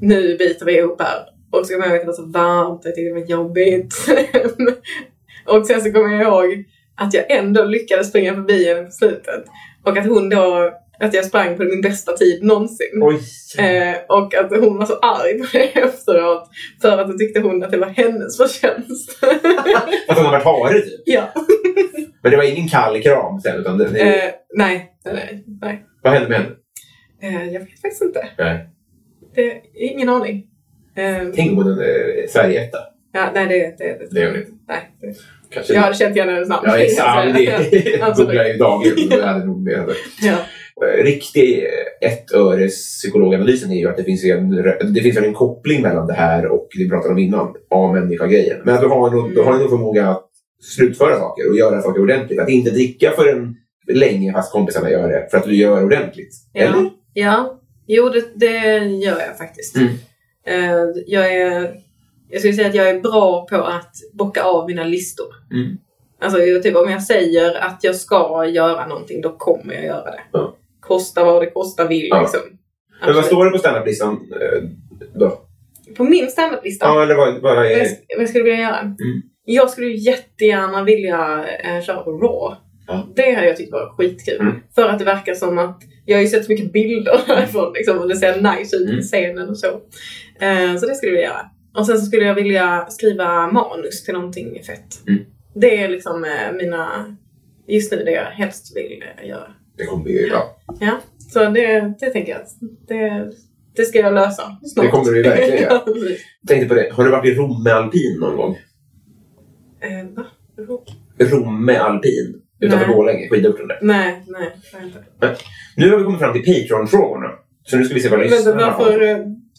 [SPEAKER 2] nu biter vi ihop här. Och så kommer jag ihåg att det var så varmt och jag tyckte det var jobbigt. och sen så kommer jag ihåg att jag ändå lyckades springa förbi henne på slutet. Och att hon då, att jag sprang på min bästa tid någonsin.
[SPEAKER 1] Oj.
[SPEAKER 2] Eh, och att hon var så arg på det efteråt. För att då tyckte hon att det var hennes förtjänst.
[SPEAKER 1] Att han har varit hare typ.
[SPEAKER 2] ja.
[SPEAKER 1] Men det var ingen kall kram sen utan det, det,
[SPEAKER 2] Eh, nej, nej, nej. nej.
[SPEAKER 1] Vad hände med henne?
[SPEAKER 2] Eh, jag vet faktiskt inte.
[SPEAKER 1] Nej.
[SPEAKER 2] Det är ingen aning. Eh,
[SPEAKER 1] Tänk om hon är eh, Sverige-etta.
[SPEAKER 2] ja, nej, det, det,
[SPEAKER 1] Det gör hon inte.
[SPEAKER 2] Nej, det.
[SPEAKER 1] Kanske
[SPEAKER 2] Jag hade känt igen hennes namn.
[SPEAKER 1] Ja, exakt. Det
[SPEAKER 2] Absolut.
[SPEAKER 1] googlar jag ju dagligen. Då hade nog med det.
[SPEAKER 2] Ja.
[SPEAKER 1] Eh, Riktig eh, ettöres psykologanalysen är ju att det finns, ju en, rö- det finns ju en koppling mellan det här och det vi pratade om innan, A-människa-grejen. Men att du har, en, du har en förmåga att slutföra saker och göra saker ordentligt. Att inte dricka förrän länge fast kompisarna gör det, för att du gör ordentligt. Eller?
[SPEAKER 2] Ja. ja. Jo, det, det gör jag faktiskt.
[SPEAKER 1] Mm.
[SPEAKER 2] Eh, jag, är, jag skulle säga att jag är bra på att bocka av mina listor.
[SPEAKER 1] Mm.
[SPEAKER 2] Alltså jag- typ om jag säger att jag ska göra någonting, då kommer jag göra det.
[SPEAKER 1] Ja.
[SPEAKER 2] Kosta vad det kosta vill
[SPEAKER 1] Ja.
[SPEAKER 2] liksom.
[SPEAKER 1] Men vad
[SPEAKER 2] Absolut.
[SPEAKER 1] står det på standup-listan eh, då?
[SPEAKER 2] På min standup-lista,
[SPEAKER 1] Ja, eller vad, vad
[SPEAKER 2] vad, jag,
[SPEAKER 1] är...
[SPEAKER 2] sk- vad jag skulle vilja göra?
[SPEAKER 1] Mm.
[SPEAKER 2] Jag skulle ju jättegärna vilja eh, köra på Raw.
[SPEAKER 1] Ja.
[SPEAKER 2] Det hade jag tyckt var skitkul.
[SPEAKER 1] Mm.
[SPEAKER 2] För att det verkar som att, jag har ju sett så mycket bilder därifrån liksom, och det ser nice ut
[SPEAKER 1] Mm.
[SPEAKER 2] i scenen och så. Eh, så det skulle jag vilja göra. Och sen så skulle jag vilja skriva manus till någonting fett.
[SPEAKER 1] Mm.
[SPEAKER 2] Det är liksom eh, mina, just nu det jag helst vill eh, göra.
[SPEAKER 1] Det kommer ju bra.
[SPEAKER 2] Ja, så det, det tänker jag att det, det ska jag lösa snart.
[SPEAKER 1] Det kommer vi verkligen göra.
[SPEAKER 2] Ja, precis.
[SPEAKER 1] Tänkte på det, har du varit i Rom med alpin någon gång?
[SPEAKER 2] Eh, va?
[SPEAKER 1] Rom med alpin? Utanför
[SPEAKER 2] Nej.
[SPEAKER 1] Borlänge, skidorten där.
[SPEAKER 2] Nej, nej. det har jag inte.
[SPEAKER 1] Nu har vi kommit fram till Patreon-frågorna. Så nu ska vi se vad
[SPEAKER 2] Vänta,
[SPEAKER 1] lyssnarna har.
[SPEAKER 2] varför eh,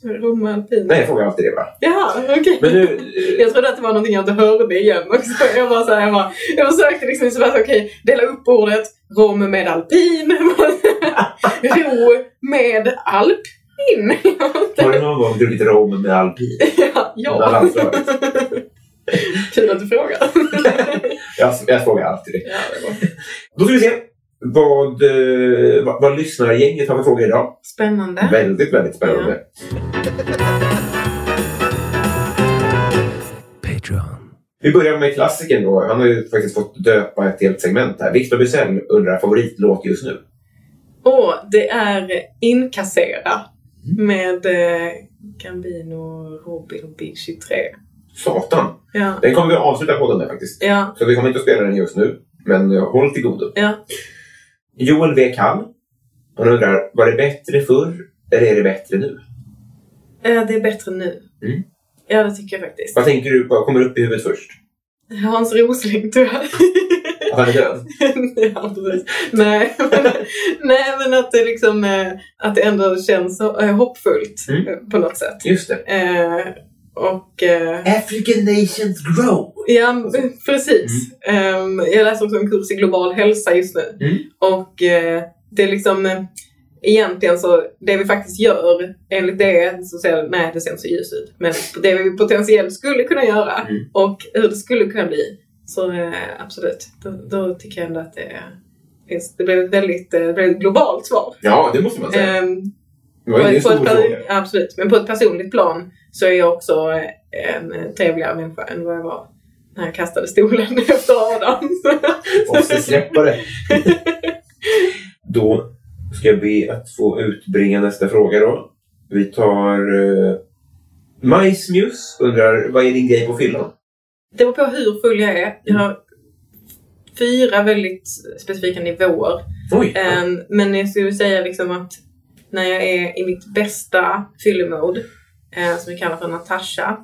[SPEAKER 2] Romme alpin.
[SPEAKER 1] Nej, jag frågar alltid det va?
[SPEAKER 2] Jaha, okej.
[SPEAKER 1] Men nu... eh,
[SPEAKER 2] Jag trodde att det var någonting jag inte hörde igen också. Jag var så här, jag, bara, jag försökte liksom så här, okej, dela upp ordet rom med alpin. Ro med alpin.
[SPEAKER 1] Har du någon gång druckit rom med alpin?
[SPEAKER 2] ja,
[SPEAKER 1] Med
[SPEAKER 2] ja.
[SPEAKER 1] landslaget?
[SPEAKER 2] Kul att du frågar.
[SPEAKER 1] Jag, jag frågar alltid det.
[SPEAKER 2] ja, det var
[SPEAKER 1] Då ska vi se vad, eh, vad, vad lyssnargänget har för frågor idag.
[SPEAKER 2] spännande.
[SPEAKER 1] Väldigt, väldigt spännande.
[SPEAKER 5] Patreon.
[SPEAKER 1] Vi börjar med klassiken då. Han har ju faktiskt fått döpa ett helt segment här. Victor Bysell undrar favoritlåt just nu.
[SPEAKER 2] Och det är Inkassera
[SPEAKER 1] Mm.
[SPEAKER 2] med eh, Gambino, Robin och Big 23.
[SPEAKER 1] Satan.
[SPEAKER 2] Ja,
[SPEAKER 1] Den kommer vi att avsluta podden med faktiskt.
[SPEAKER 2] ja,
[SPEAKER 1] Så vi kommer inte att spela den just nu. Men eh, håll till godo.
[SPEAKER 2] ja.
[SPEAKER 1] Joel V. Kall. Han undrar, var det bättre förr eller är det bättre nu?
[SPEAKER 2] Eh, Det är bättre nu.
[SPEAKER 1] Mm.
[SPEAKER 2] Ja, det tycker jag faktiskt.
[SPEAKER 1] Vad tänker du, vad kommer upp i huvudet först?
[SPEAKER 2] Hans Rosling tyvärr.
[SPEAKER 1] Att han är död?
[SPEAKER 2] ja, precis. Nej, men, nej, men att det liksom eh, att det ändå känns så, eh, hoppfullt
[SPEAKER 1] Mm.
[SPEAKER 2] eh, på något sätt.
[SPEAKER 1] Just det.
[SPEAKER 2] Eh, och eh,
[SPEAKER 1] African nations grow.
[SPEAKER 2] ja, m- precis. Ehm, jag läser också en kurs i global hälsa just nu.
[SPEAKER 1] Mm.
[SPEAKER 2] Och eh, det är liksom eh, egentligen så det vi faktiskt gör enligt det så ser det, nej det ser inte så ljust ut. Men det vi potentiellt skulle kunna göra
[SPEAKER 1] Mm.
[SPEAKER 2] och hur det skulle kunna bli. Så eh, absolut, då, då tycker jag ändå att det finns, det blev ett väldigt, eh, väldigt globalt svar.
[SPEAKER 1] Ja, det måste man säga.
[SPEAKER 2] Ehm,
[SPEAKER 1] det var ju en
[SPEAKER 2] på
[SPEAKER 1] stor
[SPEAKER 2] ett,
[SPEAKER 1] fråga.
[SPEAKER 2] per- absolut, men på ett personligt plan så är jag också eh, en eh, trevligare människa än vad jag var när jag kastade stolen efter Adam.
[SPEAKER 1] Måste släppa det. då ska jag be att få utbringa nästa fråga då. Vi tar... Uh, Majsmjus undrar, vad är din grej på fyllan?
[SPEAKER 2] Det beror på hur full jag är. Jag har fyra väldigt specifika nivåer.
[SPEAKER 1] Oj!
[SPEAKER 2] Ehm, men jag skulle säga liksom att när jag är i mitt bästa fyllemode, eh, som vi kallar för Natasha.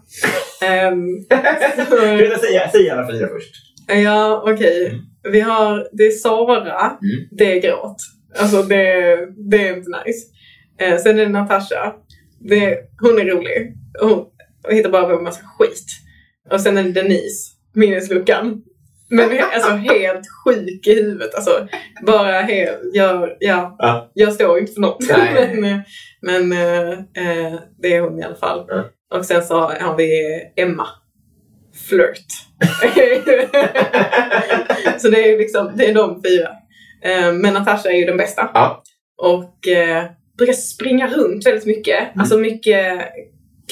[SPEAKER 2] ehm,
[SPEAKER 1] Jag vill säga, säg alla fyra först.
[SPEAKER 2] Ja, okej. Vi har, det är Sara,
[SPEAKER 1] Mm.
[SPEAKER 2] det är gråt. Alltså det, det är inte nice. Eh, sen är det Natasha. Det, hon är rolig. Hon, hon hittar bara på en massa skit. Och sen är det Denise, minnesluckan. Men he- alltså helt sjuk i huvudet. Alltså bara helt, jag, ja,
[SPEAKER 1] Ja.
[SPEAKER 2] jag står inte för något.
[SPEAKER 1] Nej.
[SPEAKER 2] men eh, men eh, eh, det är hon i alla fall.
[SPEAKER 1] Ja.
[SPEAKER 2] Och sen så har vi Emma. Flirt. så det är liksom, det är de fyra. Eh, Men Natasha är ju den bästa.
[SPEAKER 1] Ja.
[SPEAKER 2] Och eh, brukar springa runt väldigt mycket.
[SPEAKER 1] Mm.
[SPEAKER 2] Alltså mycket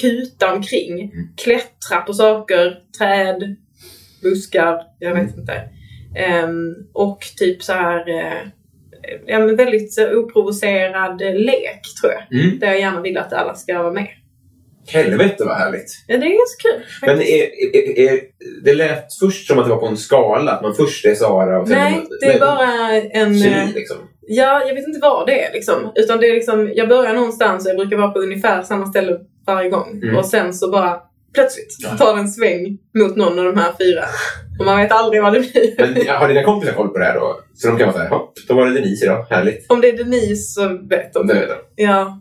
[SPEAKER 2] kuta omkring. Klättra på saker, träd, buskar, jag vet
[SPEAKER 1] Mm.
[SPEAKER 2] inte. Ehm, och typ så här, eh, ja men väldigt så oprovocerad eh, lek tror jag.
[SPEAKER 1] Mm.
[SPEAKER 2] Där jag gärna vill att alla ska vara med.
[SPEAKER 1] Helvete vad härligt!
[SPEAKER 2] Ja, det är ganska kul.
[SPEAKER 1] Men
[SPEAKER 2] faktiskt.
[SPEAKER 1] är, är, är, det lät först som att det var på en skala, att man först är Sara och sen...
[SPEAKER 2] Nej, det är
[SPEAKER 1] men-
[SPEAKER 2] bara en... eh,
[SPEAKER 1] Kemi, liksom.
[SPEAKER 2] Ja, jag vet inte vad det är liksom. Utan det är liksom, jag börjar någonstans och jag brukar vara på ungefär samma ställe varje gång.
[SPEAKER 1] Mm.
[SPEAKER 2] Och sen så bara plötsligt tar det en sväng mot någon av de här fyra. Och man vet aldrig vad det blir.
[SPEAKER 1] Men har dina kompisar koll på det här då? Så de kan vara såhär, hopp, då var det Denise idag, härligt.
[SPEAKER 2] Om det är Denise så vet de
[SPEAKER 1] Nu är
[SPEAKER 2] det.
[SPEAKER 1] det.
[SPEAKER 2] Ja,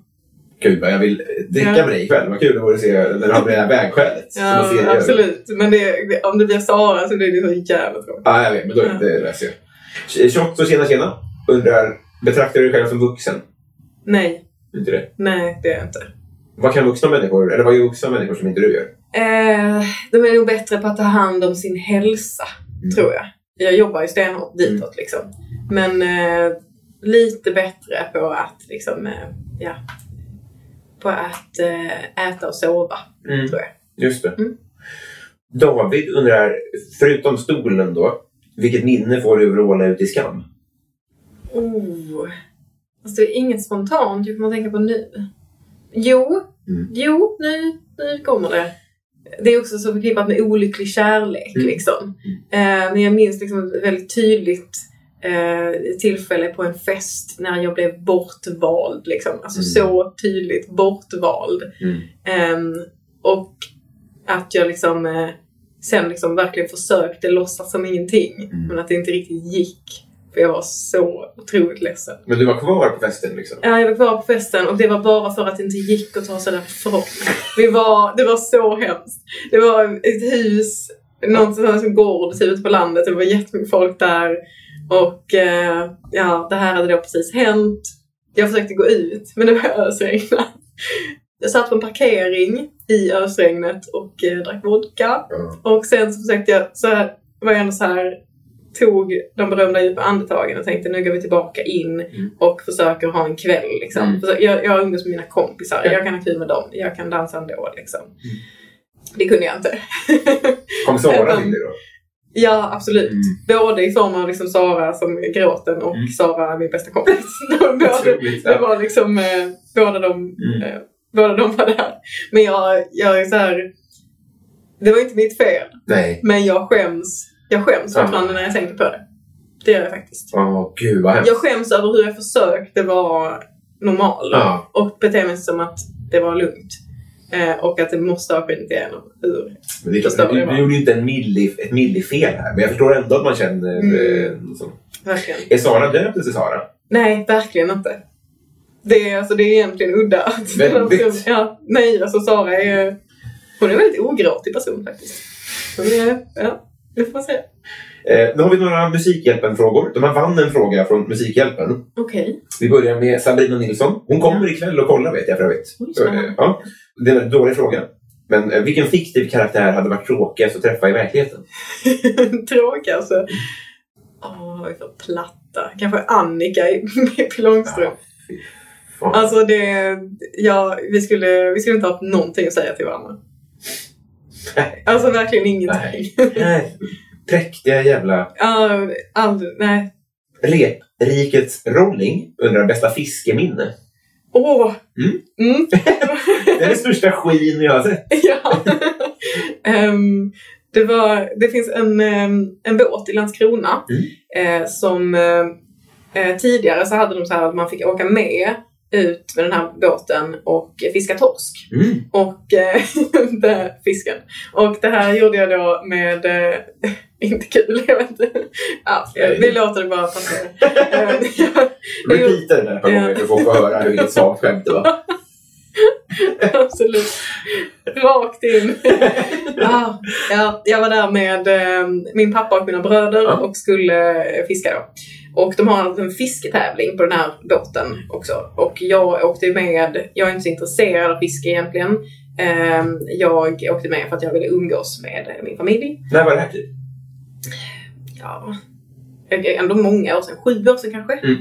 [SPEAKER 1] Gud vad jag vill eh, dricka
[SPEAKER 2] Ja.
[SPEAKER 1] med dig ikväll. Vad kul det vore att se när du har det här vägskälet. som man ser i
[SPEAKER 2] ja
[SPEAKER 1] ögonen.
[SPEAKER 2] absolut. Men det, det- om det blir Sara så blir det så jävla tråkigt.
[SPEAKER 1] Ja, jag vet, men då
[SPEAKER 2] Ja.
[SPEAKER 1] det läser jag. Ch- Shot och tjena tjena undrar, betraktar du dig själv som vuxen?
[SPEAKER 2] Nej,
[SPEAKER 1] Inte det.
[SPEAKER 2] nej det är jag inte.
[SPEAKER 1] Vad kan vuxna människor, eller vad gör vuxna människor som inte du gör?
[SPEAKER 2] Eh, de är nog bättre på att ta hand om sin hälsa, tror jag. Jag jobbar ju stenhårt ditåt liksom. Men eh, lite bättre på att liksom, eh, ja, på att eh, äta och sova,
[SPEAKER 1] Mm.
[SPEAKER 2] tror jag.
[SPEAKER 1] Just det.
[SPEAKER 2] Mm.
[SPEAKER 1] David undrar, förutom stolen då, vilket minne får du över att råla ut i skam?
[SPEAKER 2] Oh. Alltså det är inget spontant jag kommer att tänka på nu. Jo,
[SPEAKER 1] Mm.
[SPEAKER 2] jo, nu, nu kommer det. Det är också så förknippat med olycklig kärlek
[SPEAKER 1] Mm.
[SPEAKER 2] liksom. Eh, men jag minns liksom ett väldigt tydligt eh, tillfälle på en fest när jag blev bortvald liksom. Alltså
[SPEAKER 1] Mm.
[SPEAKER 2] så tydligt bortvald.
[SPEAKER 1] Mm.
[SPEAKER 2] Ehm, och att jag liksom eh, sen liksom verkligen försökte låtsas som ingenting. Men att det inte riktigt gick. För jag var så otroligt ledsen.
[SPEAKER 1] Men du var kvar på festen liksom?
[SPEAKER 2] Ja, jag var kvar på festen och det var bara för att det inte gick att ta sig därifrån. Vi var, det var så hemskt. Det var ett hus, någon sån här gård typ, ute på landet. Det var jättemycket folk där. Och eh, ja, det här hade då precis hänt. Jag försökte gå ut, men det var ösregnat. Jag satt på en parkering i ösregnet och eh, drack vodka.
[SPEAKER 1] Ja.
[SPEAKER 2] Och sen så försökte jag, så här, var jag ändå så här, tog de berömda djupa andetagen och tänkte nu går vi tillbaka in och försöker ha en kväll. Liksom.
[SPEAKER 1] Mm.
[SPEAKER 2] Försö- Jag, jag umgås med mina kompisar, jag kan ha kul med dem, jag kan dansa ändå. Liksom.
[SPEAKER 1] Mm.
[SPEAKER 2] Det kunde jag inte.
[SPEAKER 1] Kom Sara till dig då?
[SPEAKER 2] ja, absolut. Både i form av liksom Sara som är gråten och
[SPEAKER 1] Mm.
[SPEAKER 2] Sara, min bästa kompis. De- Både,
[SPEAKER 1] Otroligt.
[SPEAKER 2] det var liksom eh, båda de
[SPEAKER 1] Mm.
[SPEAKER 2] eh, Båda de var där. Men jag, jag är så här, Det var inte mitt fel.
[SPEAKER 1] Nej.
[SPEAKER 2] Men jag skäms. Jag skäms
[SPEAKER 1] Ja.
[SPEAKER 2] fortfarande när jag tänker på det. Det gör jag faktiskt.
[SPEAKER 1] Åh, gud vad hemskt.
[SPEAKER 2] Jag skäms över hur jag försökte vara normal
[SPEAKER 1] Ja.
[SPEAKER 2] och bete mig som att det var lugnt. Eh, och att det måste ha skett igenom hur...
[SPEAKER 1] Men det är klart,
[SPEAKER 2] Förstår
[SPEAKER 1] du,
[SPEAKER 2] det, va?
[SPEAKER 1] du gjorde ju inte en milli, ett millifel här, men jag förstår ändå att man känner... Eh, liksom.
[SPEAKER 2] Verkligen.
[SPEAKER 1] Är Sara döpt till Sara?
[SPEAKER 2] Nej, verkligen inte. Det är, alltså, det är egentligen udda. att-
[SPEAKER 1] Väldigt.
[SPEAKER 2] ja, nej, alltså Sara är ju... Hon är en väldigt ogråtig person faktiskt. Hon är, ja, det får man säga.
[SPEAKER 1] Eh, nu har vi några Musikhjälpen-frågor. De här vann en fråga från Musikhjälpen.
[SPEAKER 2] Okej.
[SPEAKER 1] Vi börjar med Sabrina Nilsson. Hon kommer ikväll och kollar vet jag för övrigt.
[SPEAKER 2] Oj,
[SPEAKER 1] Så,
[SPEAKER 2] spännande.
[SPEAKER 1] eh, ja. Det är en dålig fråga. Men eh, vilken fiktiv karaktär hade varit tråkigast att träffa i verkligheten?
[SPEAKER 2] Tråkig alltså. Åh, vad är det för platta. Kanske Annika i Pippi Långstrump.
[SPEAKER 1] Fan.
[SPEAKER 2] Alltså det, ja, vi skulle, vi skulle inte haft någonting att säga till varandra.
[SPEAKER 1] Nej.
[SPEAKER 2] Alltså verkligen ingenting.
[SPEAKER 1] Nej. Präktiga jävla...
[SPEAKER 2] Ja, all, nej.
[SPEAKER 1] Reprikets Rolling undrar bästa fiskeminne.
[SPEAKER 2] Åh!
[SPEAKER 1] Mm.
[SPEAKER 2] Mm.
[SPEAKER 1] Det är det största skinn jag har sett.
[SPEAKER 2] ja. Ehm, det, var, det finns en, ehm, en båt i Landskrona eh, som eh, tidigare så hade de så här att man fick åka med ut med den här båten och fiska torsk.
[SPEAKER 1] Mm.
[SPEAKER 2] och eh, det, fisken. Och det här gjorde jag då med, eh, inte kul, jag vet inte. Ja, vi låter det bara passera. Eh, jag- jag gjorde-
[SPEAKER 1] Repeata det där ett par gånger så folk får höra hur ditt sa skämt det var.
[SPEAKER 2] Absolut. Rakt in. ah, ja, jag var där med eh, min pappa och mina bröder
[SPEAKER 1] Ja.
[SPEAKER 2] och skulle eh, fiska då. Och de har en fisketävling på den här båten också. Och jag åkte ju med, jag är inte så intresserad av fiske egentligen. Eh, jag åkte med för att jag ville umgås med eh, min familj.
[SPEAKER 1] När var det här typ?
[SPEAKER 2] Ja, ändå många år sedan, sju år sedan kanske.
[SPEAKER 1] Mm.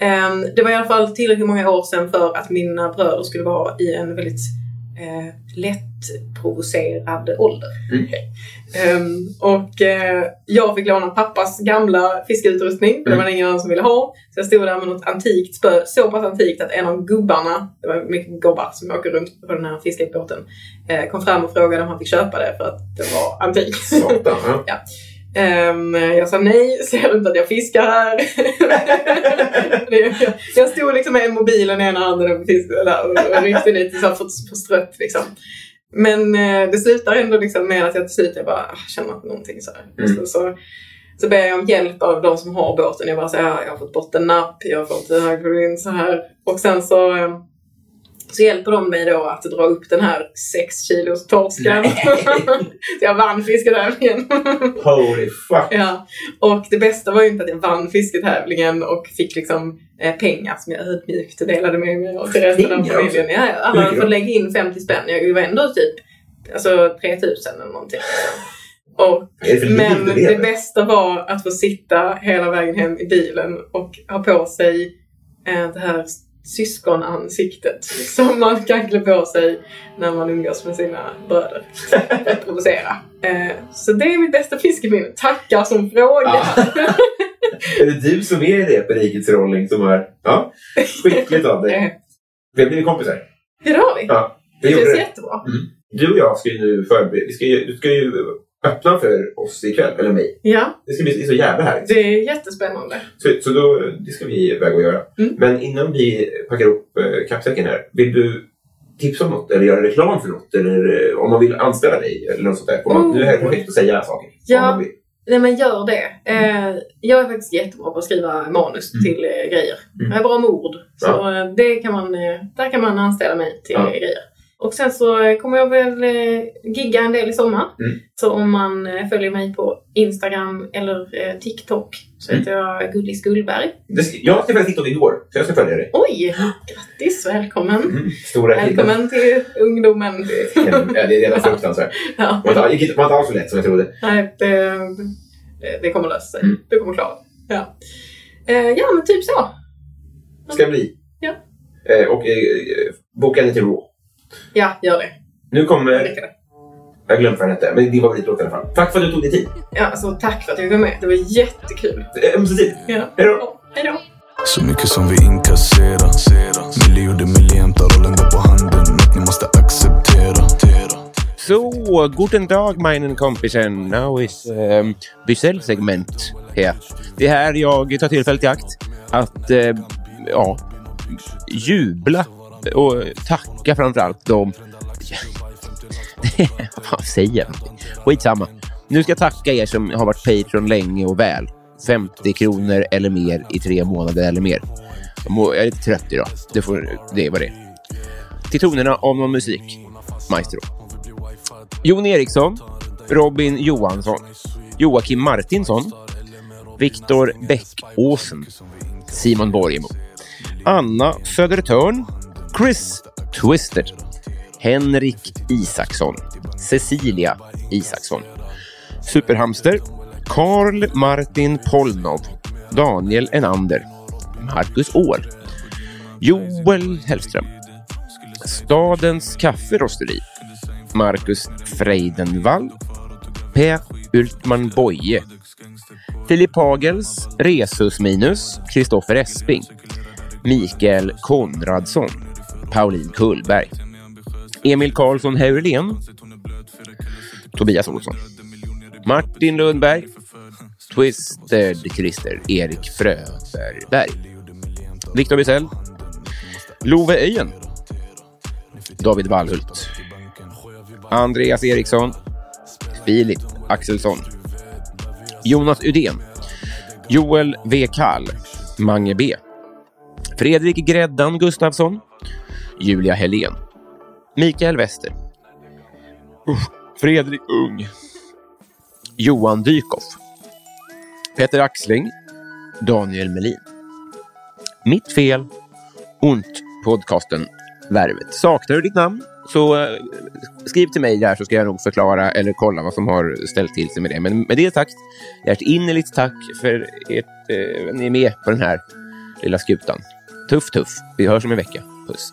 [SPEAKER 2] Eh, det var i alla fall tillräckligt många år sedan för att mina bröder skulle vara i en väldigt eh, lättprovocerad ålder.
[SPEAKER 1] Mm.
[SPEAKER 2] Ehm, och eh, jag fick låna pappas gamla fiskeutrustning, för det
[SPEAKER 1] Mm.
[SPEAKER 2] var ingen annan som ville ha. Så jag stod där med något antikt spö, så pass antikt att en av gubbarna, det var mycket gubbar som åker runt på den här fiskebåten, eh, kom fram och frågade om han fick köpa det för att det var antikt.
[SPEAKER 1] Satan. Ja.
[SPEAKER 2] Ehm, jag sa nej, ser du inte att jag fiskar här? Det- jag- jag stod liksom med mobilen i ena handen och, fisk- eller, och, och ryckte lite så här på, på strött liksom. Men eh, det slutar ändå liksom med att jag till slut jag bara ah, känner att någonting så här.
[SPEAKER 1] Mm.
[SPEAKER 2] Så, så, så ber jag om hjälp av de som har båten. Jag bara säger ah, jag har fått bottennapp, jag har fått det här, går in så här. Och sen så, eh, så hjälper de mig då att dra upp den här sex kilos torsken. så jag vann fisketävlingen.
[SPEAKER 1] Holy fuck.
[SPEAKER 2] Ja, och det bästa var ju inte att jag vann fisketävlingen och fick liksom eh, pengar som jag ödmjukt delade med mig av till resten av
[SPEAKER 1] Pengar
[SPEAKER 2] familjen.
[SPEAKER 1] också?
[SPEAKER 2] Ja, ja,
[SPEAKER 1] Hur
[SPEAKER 2] alla
[SPEAKER 1] mycket
[SPEAKER 2] får
[SPEAKER 1] då?
[SPEAKER 2] lägga in 50 spänn. Jag var ändå typ alltså 3000 eller någonting. Och,
[SPEAKER 1] Vad är det för liv
[SPEAKER 2] men
[SPEAKER 1] du
[SPEAKER 2] det
[SPEAKER 1] lever?
[SPEAKER 2] bästa var att få sitta hela vägen hem i bilen och ha på sig eh, det här syskonansiktet som man kan klä på sig när man umgås med sina bröder för att provocera. Eh, så det är mitt bästa fiskeminne. Tackar som fråga!
[SPEAKER 1] Är det du som är det på Rikets Rolling som är... Ja. Skickligt av dig.
[SPEAKER 2] Eh,
[SPEAKER 1] Vi har blivit kompisar.
[SPEAKER 2] ja, det har vi.
[SPEAKER 1] Ja. Vi
[SPEAKER 2] Det
[SPEAKER 1] gjorde
[SPEAKER 2] känns
[SPEAKER 1] det.
[SPEAKER 2] jättebra.
[SPEAKER 1] Du och jag ska ju nu förbereda... Vi ska ju, du ska ju öppna för oss ikväll. Eller mig.
[SPEAKER 2] Ja,
[SPEAKER 1] Det ska bli så jävla härligt.
[SPEAKER 2] det är jättespännande.
[SPEAKER 1] Så, så då, det ska vi iväg och göra.
[SPEAKER 2] Mm.
[SPEAKER 1] Men innan vi packar upp eh, kappsäcken här. Vill du tipsa om något eller göra reklam för något? Eller eh, om man vill anställa dig eller något sånt där. Får man,
[SPEAKER 2] Oh.
[SPEAKER 1] Du är här perfekt att säga saker. om
[SPEAKER 2] Ja.
[SPEAKER 1] man vill.
[SPEAKER 2] Nej men gör det. Eh, jag är faktiskt jättebra på att skriva manus
[SPEAKER 6] Mm.
[SPEAKER 2] till eh, grejer.
[SPEAKER 6] Mm.
[SPEAKER 2] Jag är bra med ord. Så
[SPEAKER 6] Ja.
[SPEAKER 2] eh, det kan man, eh, där kan man anställa mig till
[SPEAKER 6] Ja.
[SPEAKER 2] eh, grejer. Och sen så eh, kommer jag väl eh, gigga en del i sommar.
[SPEAKER 6] Mm.
[SPEAKER 2] Så om man eh, följer mig på Instagram eller eh, TikTok så
[SPEAKER 6] Mm.
[SPEAKER 2] heter jag Gullis Gullberg.
[SPEAKER 6] Det ska- Jag träffade TikTok igår, så jag ska följa dig.
[SPEAKER 2] Oj! Grattis! Välkommen!
[SPEAKER 6] Mm. Stora killen.
[SPEAKER 2] Välkommen till ungdomen.
[SPEAKER 6] Ja, det är redan fruktansvärt.
[SPEAKER 2] ja.
[SPEAKER 6] Det var inte det var inte alls så lätt som jag trodde.
[SPEAKER 2] Nej, det, eh, det- det kommer lösa sig.
[SPEAKER 6] Mm.
[SPEAKER 2] Du kommer klara det. Ja. Eh, ja, men typ så.
[SPEAKER 6] Ska jag bli.
[SPEAKER 2] Ja.
[SPEAKER 6] Eh, och eh, boka henne till Raw.
[SPEAKER 2] Ja, gör det.
[SPEAKER 6] Nu
[SPEAKER 2] Det
[SPEAKER 6] kommer...
[SPEAKER 2] räcker det.
[SPEAKER 6] Jag glömde vad den hette, men din favoritlåt i alla fall. Tack för att du tog dig tid.
[SPEAKER 2] Ja, så tack för att jag var med. Det var jättekul.
[SPEAKER 6] Eh, Ömsesidigt.
[SPEAKER 2] Ja.
[SPEAKER 6] Hej då.
[SPEAKER 2] Ja, Hej då.
[SPEAKER 5] Så mycket som vi inkasserar Milli gjorde milli, hämtar rollen där på handen Något ni måste acceptera
[SPEAKER 1] So, guten Tag meinen Kompisen. Now is um, Bysell-segment här. Det är här jag tar tillfället i akt att eh, ja, jubla och tacka framför allt de... Vad säger jag? Skitsamma. Nu ska jag tacka er som har varit Patreon länge och väl. 50 kronor eller mer i tre månader eller mer. Jag mår- Jag är lite trött idag. Det, får, det är vad det är. Till tonerna av någon musik. Maestro. Jon Eriksson, Robin Johansson, Joakim Martinsson, Viktor Bäckåsen, Simon Borgemo, Anna Södertörn, Chris Twisted, Henrik Isaksson, Cecilia Isaksson, Superhamster, Karl Martin Polnov, Daniel Enander, Marcus Åhl, Joel Hellström, Stadens kafferosteri, Marcus Freidenvall, Per Ultman Boye, Filip Hagels, Resus Minus, Kristoffer Esping, Mikael Konradsson, Pauline Kullberg, Emil Karlsson Heurlen, Tobias Olsson, Martin Lundberg, Twisted Christer, Erik Fröberg, Viktor Bysell, Love Öjen, David Wallhult, Andreas Eriksson, Filip Axelsson, Jonas Udén, Joel V. Kall, Mange B, Fredrik Gräddan Gustafsson, Julia Helén, Mikael Wester, Uff, Fredrik Ung, Johan Dykhoff, Peter Axling, Daniel Melin. Mitt fel, Ont podcasten Värvet. Saknar du ditt namn så eh, skriv till mig där så ska jag nog förklara eller kolla vad som har ställt till sig med det. Men med det sagt, ert innerligt tack för ert, eh, ni är med på den här lilla skutan. Tuff, tuff. Vi hörs om en vecka. Puss.